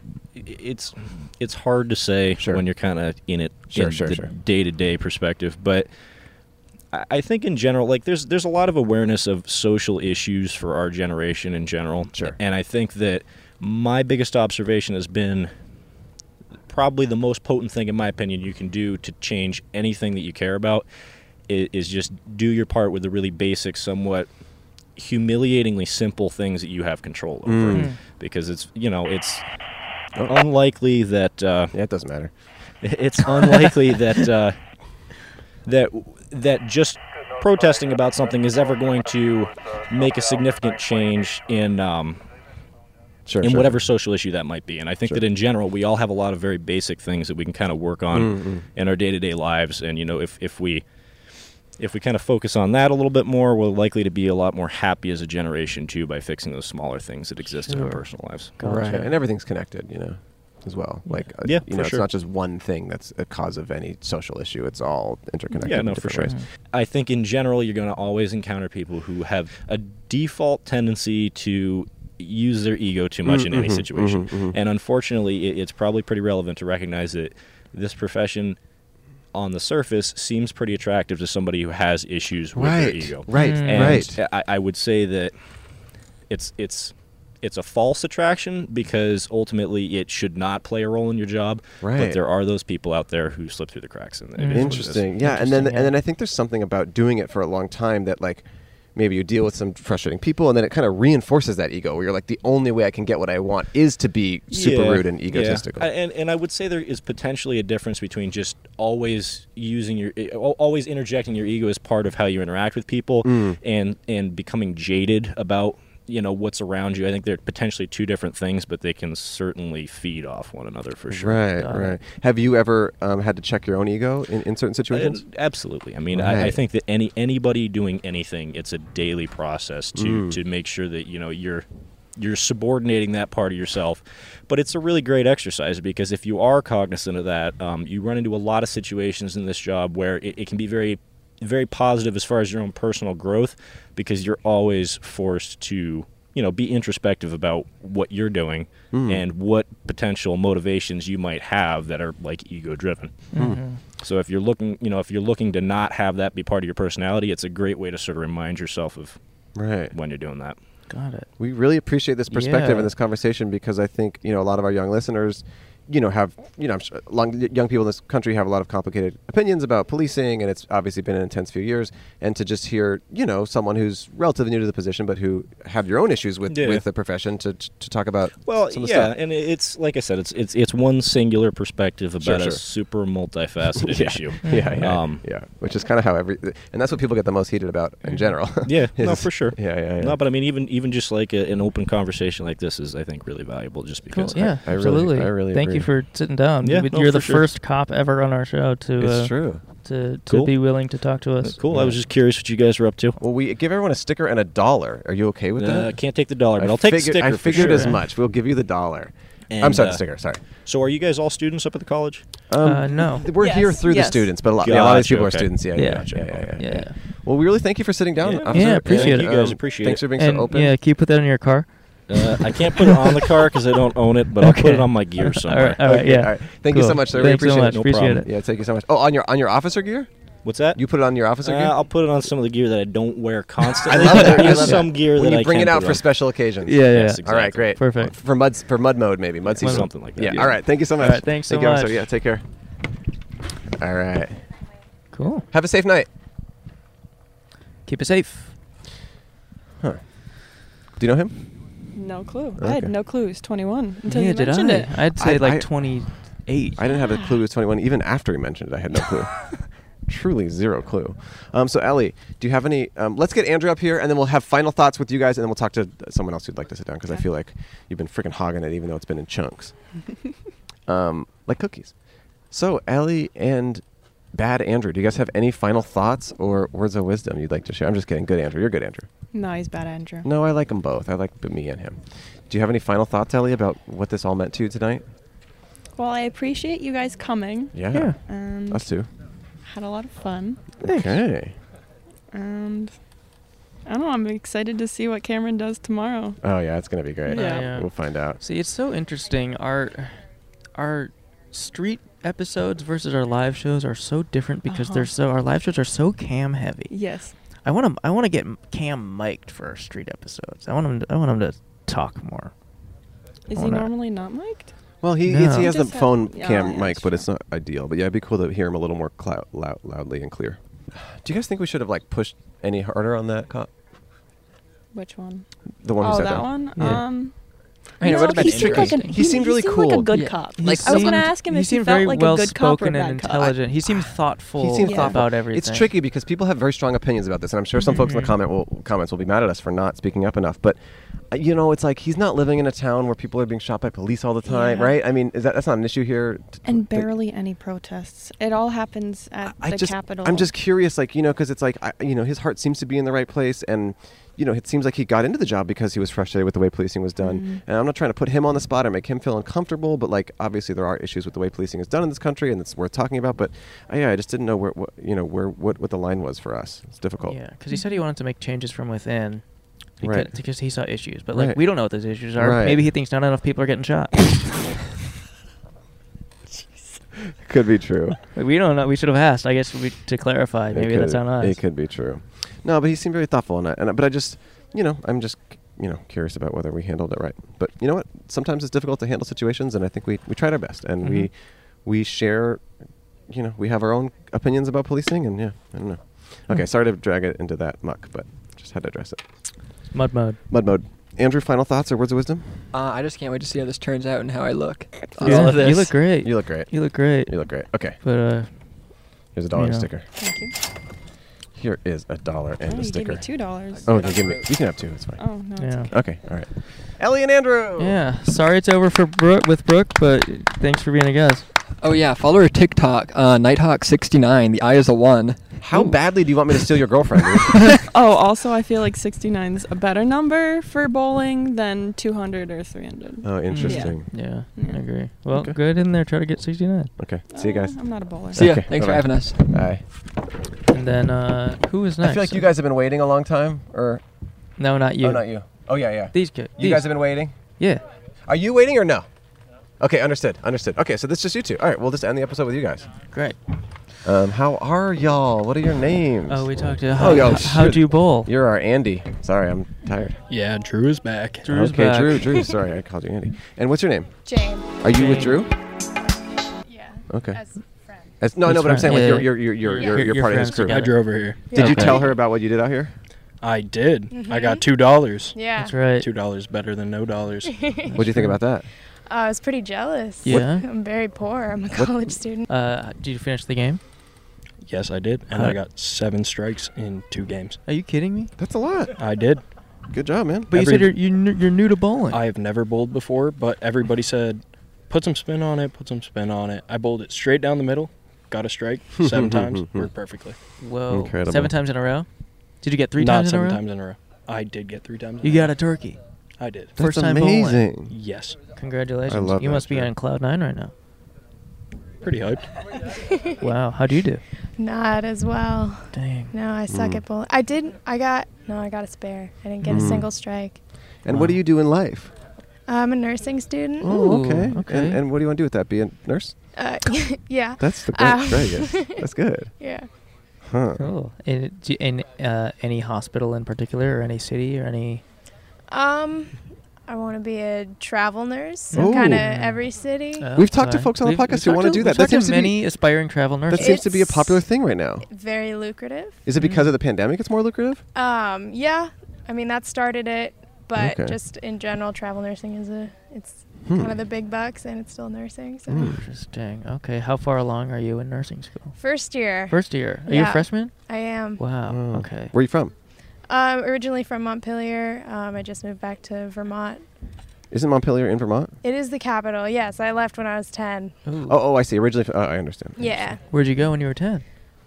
R: it's it's hard to say when you're kind of in it
B: Sure,
R: in
B: sure,
R: the
B: sure.
R: day-to-day perspective, but I I think in general, like there's there's a lot of awareness of social issues for our generation in general, sure. and I think that my biggest observation has been probably the most potent thing, in my opinion, you can do to change anything that you care about i- is just do your part with the really basic, somewhat humiliatingly simple things that you have control over.
B: Mm. Mm.
R: Because it's, you know, it's unlikely that. Uh,
B: Oh. yeah, it doesn't matter.
R: It's unlikely that. Uh, that that just protesting about something is ever going to make a significant change in um,
B: Sure,
R: in
B: sure.
R: whatever social issue that might be. And I think that in general, we all have a lot of very basic things that we can kind of work on
B: Mm, mm.
R: in our day to day lives. And you know, if if we if we kind of focus on that a little bit more, we're likely to be a lot more happy as a generation too by fixing those smaller things that exist in our
B: Sure.
R: personal lives.
B: Right. And everything's connected, you know, as well. Like, uh,
R: Yeah,
B: you
R: for
B: know,
R: sure.
B: it's not just one thing that's a cause of any social issue. It's all interconnected.
R: Yeah,
B: in
R: no, for sure.
B: different ways.
R: I think in general, you're going to always encounter people who have a default tendency to use their ego too much
B: Mm,
R: in any
B: mhm,
R: situation.
B: mhm, mhm.
R: And unfortunately, it, it's probably pretty relevant to recognize that this profession on the surface seems pretty attractive to somebody who has issues with their
B: Right,
R: ego.
B: right, Mm.
R: and
B: right.
R: I, I would say that it's it's it's a false attraction because ultimately it should not play a role in your job. But
B: Right.
R: there are those people out there who slip through the cracks and it is what it is.
B: Interesting. Yeah, and then and then I think there's something about doing it for a long time that like maybe you deal with some frustrating people and then it kind of reinforces that ego where you're like the only way I can get what I want is to be super
R: Yeah,
B: rude and
R: yeah.
B: egotistical.
R: I- and and I would say there is potentially a difference between just always using your eh, al- always interjecting your ego as part of how you interact with people
B: Mm.
R: and and becoming jaded about you know what's around you. I think they're potentially two different things, but they can certainly feed off one another for sure.
B: Right,
R: Uh,
B: right. Have you ever um, had to check your own ego in, in certain situations?
R: and Uh, absolutely. I mean, I, I
B: Right.
R: think that any anybody doing anything, it's a daily process to
B: Mm.
R: to make sure that you know you're you're subordinating that part of yourself. But it's a really great exercise because if you are cognizant of that, um, you run into a lot of situations in this job where it, it can be very very positive as far as your own personal growth because you're always forced to you know be introspective about what you're doing
B: Mm.
R: and what potential motivations you might have that are like ego driven
B: Mhm.
R: Mm-hmm. so if you're looking, you know, if you're looking to not have that be part of your personality, it's a great way to sort of remind yourself of
B: right
R: when you're doing that.
A: Got it.
B: We really appreciate this perspective
R: Yeah.
B: and this conversation because I think you know a lot of our young listeners, you know, have you know, I'm sure long, young people in this country have a lot of complicated opinions about policing, and it's obviously been an intense few years. And to just hear you know someone who's relatively new to the position but who have your own issues with
R: Yeah.
B: with the profession to to talk about
R: Well,
B: some of the
R: yeah,
B: stuff.
R: and it- it's like I said, it's it's it's one singular perspective about
B: Sure,
R: a
B: sure.
R: super multifaceted
B: *laughs* Yeah.
R: issue.
B: Yeah, yeah,
R: um,
B: yeah. Which is kind of how every, and that's what people get the most heated about in general.
R: *laughs*
B: *laughs*
R: yeah, no,
B: is-
R: for sure.
B: Yeah, yeah, yeah.
R: No, but I mean, even even just like a, an open conversation like this is, I think, really valuable, just
A: Cool.
R: because.
A: Yeah, absolutely. Thank you for sitting down.
R: Yeah,
A: You-
R: no,
A: you're
R: for
A: the
R: sure.
A: first cop ever on our show to.
B: It's
A: uh,
B: true.
A: To, to
B: Cool.
A: be willing to talk to us.
R: Uh, Cool. I was just curious what you guys were up to.
B: Well, we give everyone a sticker and a dollar. Are you okay with
R: Uh,
B: that?
R: I can't take the dollar, but
B: I
R: I'll take the
B: figured-
R: sticker
B: I
R: for
B: figured
R: sure.
B: as much. We'll give you the dollar. I'm
R: And,
B: sorry,
R: uh,
B: the sticker. Sorry.
R: So, are you guys all students up at the college?
A: Uh,
B: Um, th- We're here through the students, but a lot, yeah, a lot of these people are students. Yeah, yeah, yeah, yeah, yeah, yeah. Well, we really thank you for sitting down.
R: Yeah,
B: officer.
R: yeah, appreciate
B: And,
R: it. You guys
B: um,
R: appreciate
B: Thanks
R: it.
B: for being
A: and,
B: so open.
A: Yeah, can you put that in your car?
R: Uh, I can't put it on the
A: *laughs*
R: car because I don't own it, but I'll put
A: Okay.
R: it on my gear somewhere.
A: All right, all right, yeah.
B: *laughs* Thank you
A: Cool.
B: so much, sir.
A: Thanks
B: we
A: so
B: appreciate
A: much.
B: it.
A: Appreciate
B: problem.
A: it.
B: Yeah, thank you so much. Oh, on your on your officer gear?
R: What's that?
B: You put it on your officer
R: Uh,
B: gear?
R: I'll put it on some of the gear that I don't wear
B: *laughs* I
R: constantly.
B: love
R: but
B: that.
R: there's
B: I love
R: some
B: that.
R: gear
B: when
R: that
B: you
R: I
B: bring
R: can
B: it out
R: put
B: for
R: on.
B: special occasions.
A: Yeah, yeah, yeah.
B: All right, great.
A: Perfect.
B: For mud for mud mode maybe mud season
R: Something like that,
B: Yeah.
R: yeah.
B: All right. Thank you so
R: All
B: much.
R: right, thanks so
B: Thank you, officer.
R: much.
B: Yeah. Take care. All right.
A: Cool.
B: Have a safe night.
A: Keep it safe.
B: Huh. Do you know him?
G: No clue. I had
B: Okay.
G: no clue. He's 21 until
A: Yeah,
G: you
A: did
G: mentioned
A: I?
G: it.
A: I'd say like
B: I-
A: 28. *sighs* *laughs*
B: I didn't have a clue he was 21. Even after he mentioned it, I had no clue. truly zero clue. Um, so, Ellie, do you have any? Um, let's get Andrew up here, and then we'll have final thoughts with you guys, and then we'll talk to someone else who'd like to sit down because I feel like you've been freaking hogging it, even though it's been
A: *laughs*
B: in chunks, um, like cookies. So, Ellie and Bad Andrew, do you guys have any final thoughts or words of wisdom you'd like to share? I'm just kidding. Good Andrew, you're good Andrew.
G: No, he's bad, Andrew.
B: No, I like them both. I like b- me and him. Do you have any final thoughts, Ellie, about what this all meant to you tonight?
G: Well, I appreciate you guys coming.
B: Yeah.
G: And
B: Us too.
G: Had a lot of fun.
B: Okay.
G: And I don't know. I'm excited to see what Cameron does tomorrow.
B: Oh yeah, it's gonna be great.
G: Yeah.
B: We'll find out.
A: See, it's so interesting. Our our street episodes versus our live shows are so different because they're
G: Uh-huh.
A: so our live shows are so cam heavy.
G: Yes.
A: I want to I want to get m- cam mic'd for our street episodes. I want him I want him to talk more.
G: Is
A: I
G: he
A: wanna-
G: normally not mic'd?
B: Well, he
A: No.
B: it's, he
A: You
B: has the
G: just have-
B: phone
G: yeah,
B: cam
G: yeah,
B: mic, but it's not ideal. But yeah, it'd be cool to hear him a little more clou- loud, loudly and clear. Do you guys think we should have like pushed any harder on that cop?
G: Which one?
B: The one who
G: oh,
B: sat
G: that
B: down.
G: one.
B: Yeah.
G: Um.
B: I know,
G: no,
B: what about
G: he seemed like a,
B: interesting? He seemed really
G: seemed like a
B: cool.
G: good
B: Yeah.
G: cop.
B: He
G: Like, I was
B: seemed-
G: gonna ask him
A: he
G: if he
A: seemed
G: felt
A: very
G: like
A: well
G: a good cop or a
A: spoken
G: bad
A: and
G: cop.
A: intelligent. He
G: *sighs*
A: seemed thoughtful
B: He seemed thoughtful.
A: about everything. Mm-hmm.
B: It's tricky because people have very strong opinions about this, and I'm sure some folks in the comment will comments will be mad at us for not speaking up enough. But uh, you know, it's like he's not living in a town where people are being shot by police all the time,
G: Yeah.
B: right? I mean, is that that's not an issue here? T-
G: And
B: that-
G: barely any protests. It all happens at
B: I
G: the
B: just,
G: Capitol.
B: I'm just curious, like you know, because it's like I, you know, his heart seems to be in the right place, and you know, it seems like he got into the job because he was frustrated with the way policing was done.
G: Mhm.
B: And I'm not trying to put him on the spot or make him feel uncomfortable, but like obviously there are issues with the way policing is done in this country, and it's worth talking about. But I, yeah, I just didn't know where, what, you know, where what, what the line was for us. It's difficult.
A: Yeah, because he said he wanted to make changes from within. Because,
B: Right.
A: because he saw issues, but like
B: Right.
A: we don't know what those issues are.
B: Right.
A: Maybe he thinks not enough people are getting
G: *laughs*
A: shot.
B: Could be true.
A: Like, we don't know. We should have asked. I guess we, to clarify.
B: It
A: Maybe
B: could-
A: that's on us.
B: It could be true. No, but he seemed very thoughtful, and, I, and I- but I just, you know, I'm just, you know, curious about whether we handled it right. But you know what? Sometimes it's difficult to handle situations, and I think we we tried our best, and we
A: Mhm.
B: we share, you know, we have our own opinions about policing, and yeah, I don't know.
A: Hmm.
B: Okay, sorry to drag it into that muck, but just had to address it.
A: Mud mode.
B: Mud mode. Andrew, final thoughts or words of wisdom?
E: Uh, I just can't wait to see how this turns out and how I look.
A: Yeah,
E: All of
A: you
E: this.
A: look great.
B: You look great.
A: You look great.
B: You look great. Okay.
A: But uh,
B: Here's a dollar
A: you know.
B: sticker.
G: Thank you.
B: Here is a dollar and
G: Oh,
B: a
G: you gave
B: sticker.
G: me $2.
B: Oh, okay, give me. You can have two. It's fine.
G: Oh, no, it's
A: Yeah.
B: Okay. All right. Ellie and Andrew.
A: Yeah. *laughs* Sorry it's over for Brooke with Brooke, but thanks for being a guest.
E: Oh yeah, follow her TikTok, uh, Nighthawk69. The eye is a one.
B: How badly do you want me to steal your girlfriend? *laughs*
G: oh, also, I feel like 69 is a better number for bowling than 200 or 300.
B: Oh, interesting.
A: Yeah, I agree. Well, good in there. Try to get 69.
B: Okay. See you guys.
G: I'm not a bowler.
E: See ya. Thanks for having us.
B: Bye.
A: And then uh, who is next?
B: I feel like you guys have been waiting a long time, or
A: No, not you.
B: Oh, not you. Oh, yeah, yeah.
A: These kids.
B: You guys have been waiting.
A: Yeah.
B: Are you waiting or no? Okay, understood. Understood. Okay, so this is just you two. All right, we'll just end the episode with you guys.
A: Great.
B: Um, how are y'all? What are your names?
A: Oh, we talked to- how- how- how
B: shoot.
A: do you bowl?
B: You're our Andy. Sorry, I'm tired.
F: Yeah, Drew is back.
A: Drew's
B: okay,
A: back. *laughs*
B: Drew. Drew. Sorry, I called you Andy. And what's your name?
S: Jane.
B: Are you with
A: Jane.
B: Drew? Yeah. Okay. As As, no, no,
F: As
B: but I'm
F: friend.
B: saying like
F: Yeah.
B: you're you're you're you're,
F: Yeah.
B: you're,
F: You're-
B: you're
F: you're
B: part of his
F: friends
B: crew.
F: together. I drove her here.
B: Did you
F: Okay.
B: tell her about what you did out here?
F: I did. I got
S: Mhm.
F: two dollars.
S: Yeah. That's
A: right.
F: Two dollars better than
S: *laughs*
F: no dollars.
S: What'd
B: What do you *laughs* think about that?
S: Uh, I was pretty jealous.
A: Yeah?
S: I'm very poor. I'm a
F: What-
S: college student.
A: Uh, did you finish the game?
F: Yes, I did, and
A: Huh.
F: I got seven strikes in two games.
A: Are you kidding me?
B: That's a lot.
F: I did.
B: Good job, man.
A: But you said you're, you're, n- you're new to bowling.
F: I have never bowled before, but everybody said, put some spin on it, put some spin on it. I bowled it straight down the middle, got
B: *laughs*
F: a strike seven times, worked perfectly.
A: Whoa.
B: Incredible.
A: Seven times in a row? Did you get three
F: Not
A: times in a
F: seven
A: row?
F: times in a row. I did get three times. in
A: You
F: a
A: got
F: row.
A: a turkey.
F: I did.
B: That's
A: First time
B: amazing.
A: bowling.
F: Yes.
A: Congratulations.
B: I love
A: you
B: that,
A: must be
B: Drew.
A: on cloud nine right now.
F: Pretty
A: *laughs*
F: hyped.
A: wow. How'd you do?
S: Not as well.
A: Dang.
S: No, I suck
B: Mm.
S: at bowling. I did. I got. No, I got a spare. I didn't get a
B: Mm.
S: single strike.
B: And what do you do in life?
S: I'm a nursing student.
B: Oh, okay.
A: okay.
B: And, and what do you want to do with that? Be a nurse?
S: Uh, *laughs* yeah.
B: That's the great.
S: Uh,
B: great, yes.
S: *laughs*
B: That's good.
S: Yeah.
B: Huh.
A: Cool. And, do you- and uh, any hospital in particular or any city or any.
S: Um, I want to be a travel nurse in
B: Ooh.
S: kind of every city.
A: Oh,
B: We've talked to
A: sorry.
B: folks on the
A: We've-
B: podcast
A: we've
B: who
A: talked
B: wanna
A: to-
B: do
A: we've
B: that. That
A: talked to
B: seems to be-
A: many aspiring travel
B: That
A: nurses.
B: seems to be a popular thing right now.
S: Very lucrative.
B: Is it because of the pandemic it's more lucrative?
S: Um, yeah. I mean, that started it. but
B: Okay.
S: just in general, travel nursing is a it's
A: Hmm.
S: one of the big bucks, and it's still nursing.
B: Hmm.
S: So
A: Interesting. Okay, how far along are you in nursing school?
S: first year.
A: First year. Are you
S: Yeah.
A: a freshman?
S: I am.
A: Wow. Okay.
B: Hmm. Where are you from?
S: Um, originally from Montpelier, um, I just moved back to Vermont.
B: Isn't Montpelier in Vermont?
S: It is the capital. Yes, I left when I was ten.
B: Oh, oh, I see. Originally, from, oh, I understand.
S: Yeah,
A: Where'd you go when you were 10?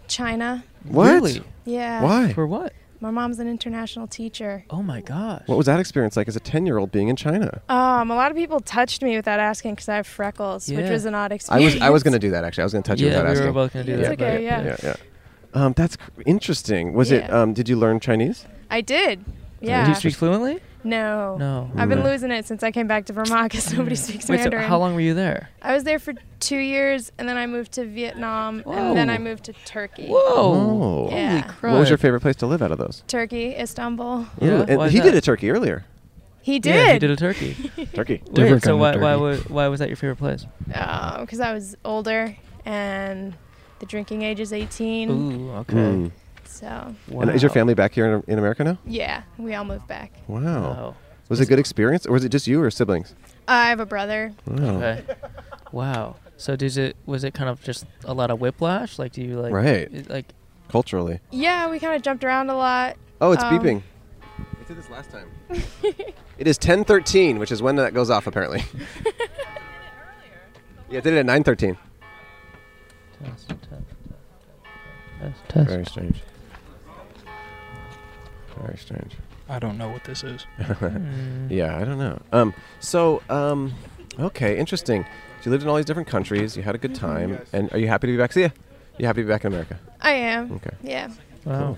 S: China.
B: What?
A: Really?
S: Yeah.
B: Why?
A: For what?
S: My mom's an international teacher.
A: Oh my gosh.
B: What was that experience like as a ten-year-old being in China?
S: Um, a lot of people touched me without asking because I have freckles, which
A: Yeah.
S: was an odd
B: I
S: experience.
B: was I was gonna do that actually. I was gonna touch you
A: Yeah,
B: without
A: we were
B: asking.
A: both gonna do
S: It's that, okay, but- yeah.
B: yeah, yeah. Um, that's cr- interesting. Was it?
S: Yeah.
B: Um, did you learn Chinese?
S: I did. Yeah.
A: Do you speak fluently?
S: No.
A: No.
S: I've been
A: Really?
S: losing it since I came back to Vermont
A: *laughs*
S: because nobody speaks
A: Wait, so
S: Mandarin.
A: how long were you there?
S: I was there for two years, and then I moved to Vietnam, and then I
B: Whoa.
S: moved to Turkey.
B: Oh.
S: Yeah.
B: What was your favorite place to live out of those?
S: Turkey, Istanbul.
B: Ooh, and
A: why is
B: he did
A: that?
B: a turkey earlier.
S: He did.
A: Yeah, he did
S: *laughs*
A: a turkey.
B: Turkey.
A: Wait,
B: Different
A: so
B: kind of
A: why, why,
B: turkey.
A: wa- why was that your favorite place?
S: Uh, Because Oh, I was older, and the drinking age is 18.
A: Ooh, okay.
B: Mm.
S: So.
B: And is your family back here in, in America now?
S: Yeah, we all moved back.
B: Wow. Was it a good experience, or was it just you or siblings?
S: I have a brother.
B: Wow.
A: Okay. Wow. So does it was it kind of just a lot of whiplash? Like do you like
B: Right.
A: it- like
B: Culturally.
S: Yeah, we kind of jumped around a lot.
B: Oh, it's
S: Um,
B: beeping. I did this last time. It is 10:13, which is when that goes
S: *laughs*
B: off apparently. yeah, I did it at 9:13. Very strange. Very strange. *laughs*
F: I don't know what this is.
A: Hmm.
B: yeah, I don't know. Um, so, um, okay, interesting. So You lived in all these different countries. You had a good
A: Mm-hmm.
B: time, and are you happy to be back? See ya. You happy to be back in America?
S: *laughs* I am.
B: Okay.
S: Yeah.
B: Cool.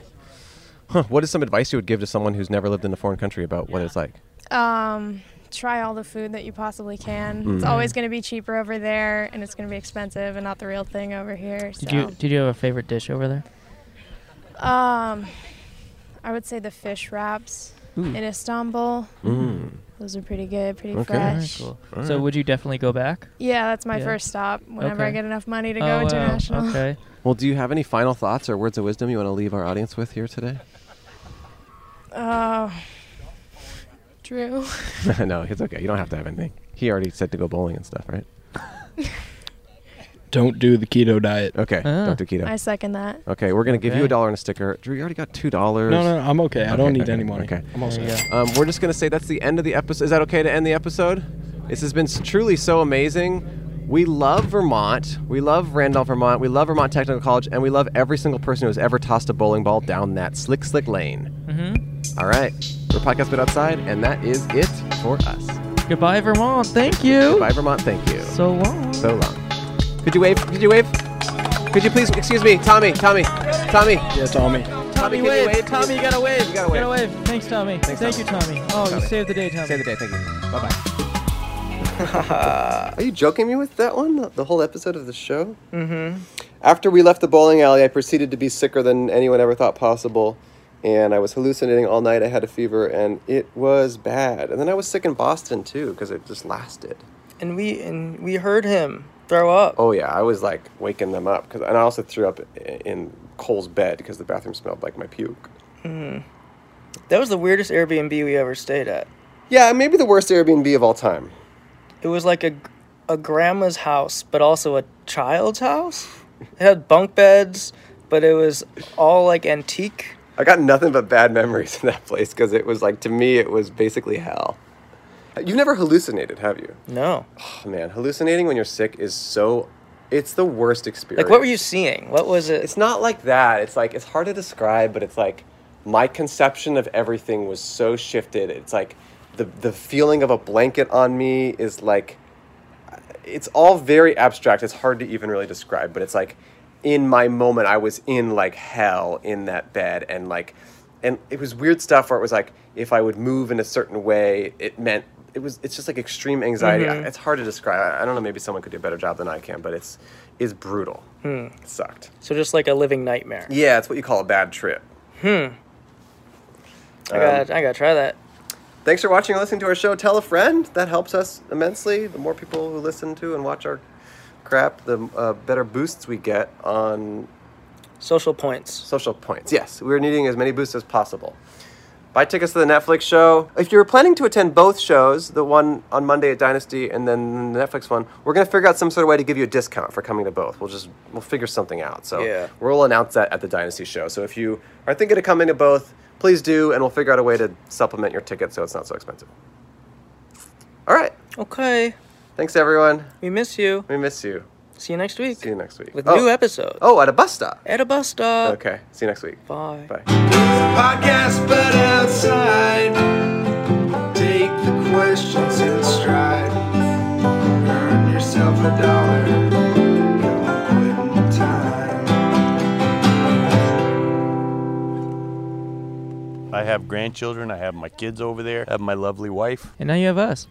B: Huh, what is some advice you would give to someone who's never lived in a foreign country about what it's like?
S: Um, try all the food that you possibly can. It's
B: Mm.
S: always going to be cheaper over there, and it's going to be expensive and not the real thing over here. So.
A: did you did you have a favorite dish over there?
S: Um, I would say the fish wraps
A: Ooh.
B: Hmm.
S: in Istanbul.
A: Mm.
S: Those are pretty good, pretty
A: Okay. Alright,
S: fresh.
A: cool.
B: Alright.
A: So would you definitely go back?
S: Yeah, that's my
A: Yeah.
S: first stop. Whenever I
A: Okay.
S: get enough money to
A: Oh,
S: go
A: wow.
S: international. *laughs*
A: Okay.
B: Well, do you have any final thoughts or words of wisdom you want to leave our audience with here today? *laughs*
S: Oh, Drew.
B: *laughs* no, it's okay. You don't have to have anything. He already said to go bowling and stuff, right?
F: Don't do the keto diet.
B: Okay,
F: Ah.
B: don't do keto.
S: I second that.
B: Okay, we're gonna give you
F: Okay.
B: a dollar and a sticker. Drew, you already got two dollars.
F: No, no, no, I'm okay. I don't need any money.
B: Okay,
F: I'm all There set.
B: Um, we're just gonna say that's the end of the episode. Is that okay to end the episode? This has been s- truly so amazing. We love Vermont. We love Randolph, Vermont. We love Vermont Technical College, and we love every single person who has ever tossed a bowling ball down that slick, slick lane.
A: Mm-hmm.
B: All right, we're podcast bit outside, and that is it for us.
A: Goodbye, Vermont. Thank you.
B: Goodbye, Vermont. Thank you.
A: So long.
B: So long. Could you wave? Could you wave? Could you please? Excuse me, Tommy. Tommy. Tommy.
F: Yeah, Tommy.
B: Tommy,
A: Tommy,
B: can you
A: wave.
B: wave?
A: Tommy, you gotta wave.
B: You gotta wave.
A: Thanks, Tommy. Thank you, Tommy. Oh,
B: Tommy.
A: you saved the day, Tommy.
B: Save the day. Thank you. Bye bye. *laughs* Are you joking me with that one? The whole episode of the show?
M: Mm-hmm.
B: After we left the bowling alley, I proceeded to be sicker than anyone ever thought possible. And I was hallucinating all night. I had a fever, and it was bad. And then I was sick in Boston, too, because it just lasted.
M: And we and we heard him throw up.
B: Oh, yeah. I was like waking them up. Cause, and I also threw up i- in Cole's bed because the bathroom smelled like my puke.
M: Mhm. That was the weirdest Airbnb we ever stayed at.
B: Yeah, maybe the worst Airbnb of all time.
M: It was like a a grandma's house, but also a child's house. It had bunk beds, but it was all like antique.
B: I got nothing but bad memories in that place because it was like, to me, it was basically hell. You've never hallucinated, have you?
M: No.
B: Oh, man. Hallucinating when you're sick is so. It's the worst experience.
M: Like what were you seeing? What was it?
B: It's not like that. It's like, it's hard to describe, but it's like my conception of everything was so shifted. It's like the, the feeling of a blanket on me is like. It's all very abstract. It's hard to even really describe, but it's like in my moment, I was in like hell in that bed and like and it was weird stuff where it was like if I would move in a certain way, it meant it was it's just like extreme anxiety.
M: Mhm.
B: I- It's hard to describe. I, I don't know. Maybe someone could do a better job than I can, but it's is brutal.
M: Hmm.
B: It sucked.
M: So just like a living nightmare.
B: Yeah, it's what you call a bad trip.
M: Hmm. I
B: Um,
M: got. I got to try that.
B: Thanks for watching and listening to our show. Tell a friend. That helps us immensely. The more people who listen to and watch our crap, the uh, better boosts we get on
M: social points.
B: Social points. Yes, we're needing as many boosts as possible. Buy tickets to the Netflix show. If you're planning to attend both shows, the one on Monday at Dynasty and then the Netflix one, we're gonna figure out some sort of way to give you a discount for coming to both. We'll just we'll figure something out. So
C: Yeah.
B: we'll announce that at the Dynasty show. So if you are thinking of coming to both, please do, and we'll figure out a way to supplement your ticket so it's not so expensive. All right.
M: Okay.
B: Thanks everyone.
M: We miss you.
B: We miss you.
M: See you next week. See
B: you next week.
M: With
B: Oh.
M: new episode.
B: Oh, at a bus stop.
M: At a bus stop.
B: Okay. See you next week.
M: Bye.
B: Bye.
C: podcast, but outside. Take the questions in stride. Earn yourself a dollar. Go quit in time.
I: I have grandchildren. I have my kids over there. I have my lovely wife.
A: And now you have us.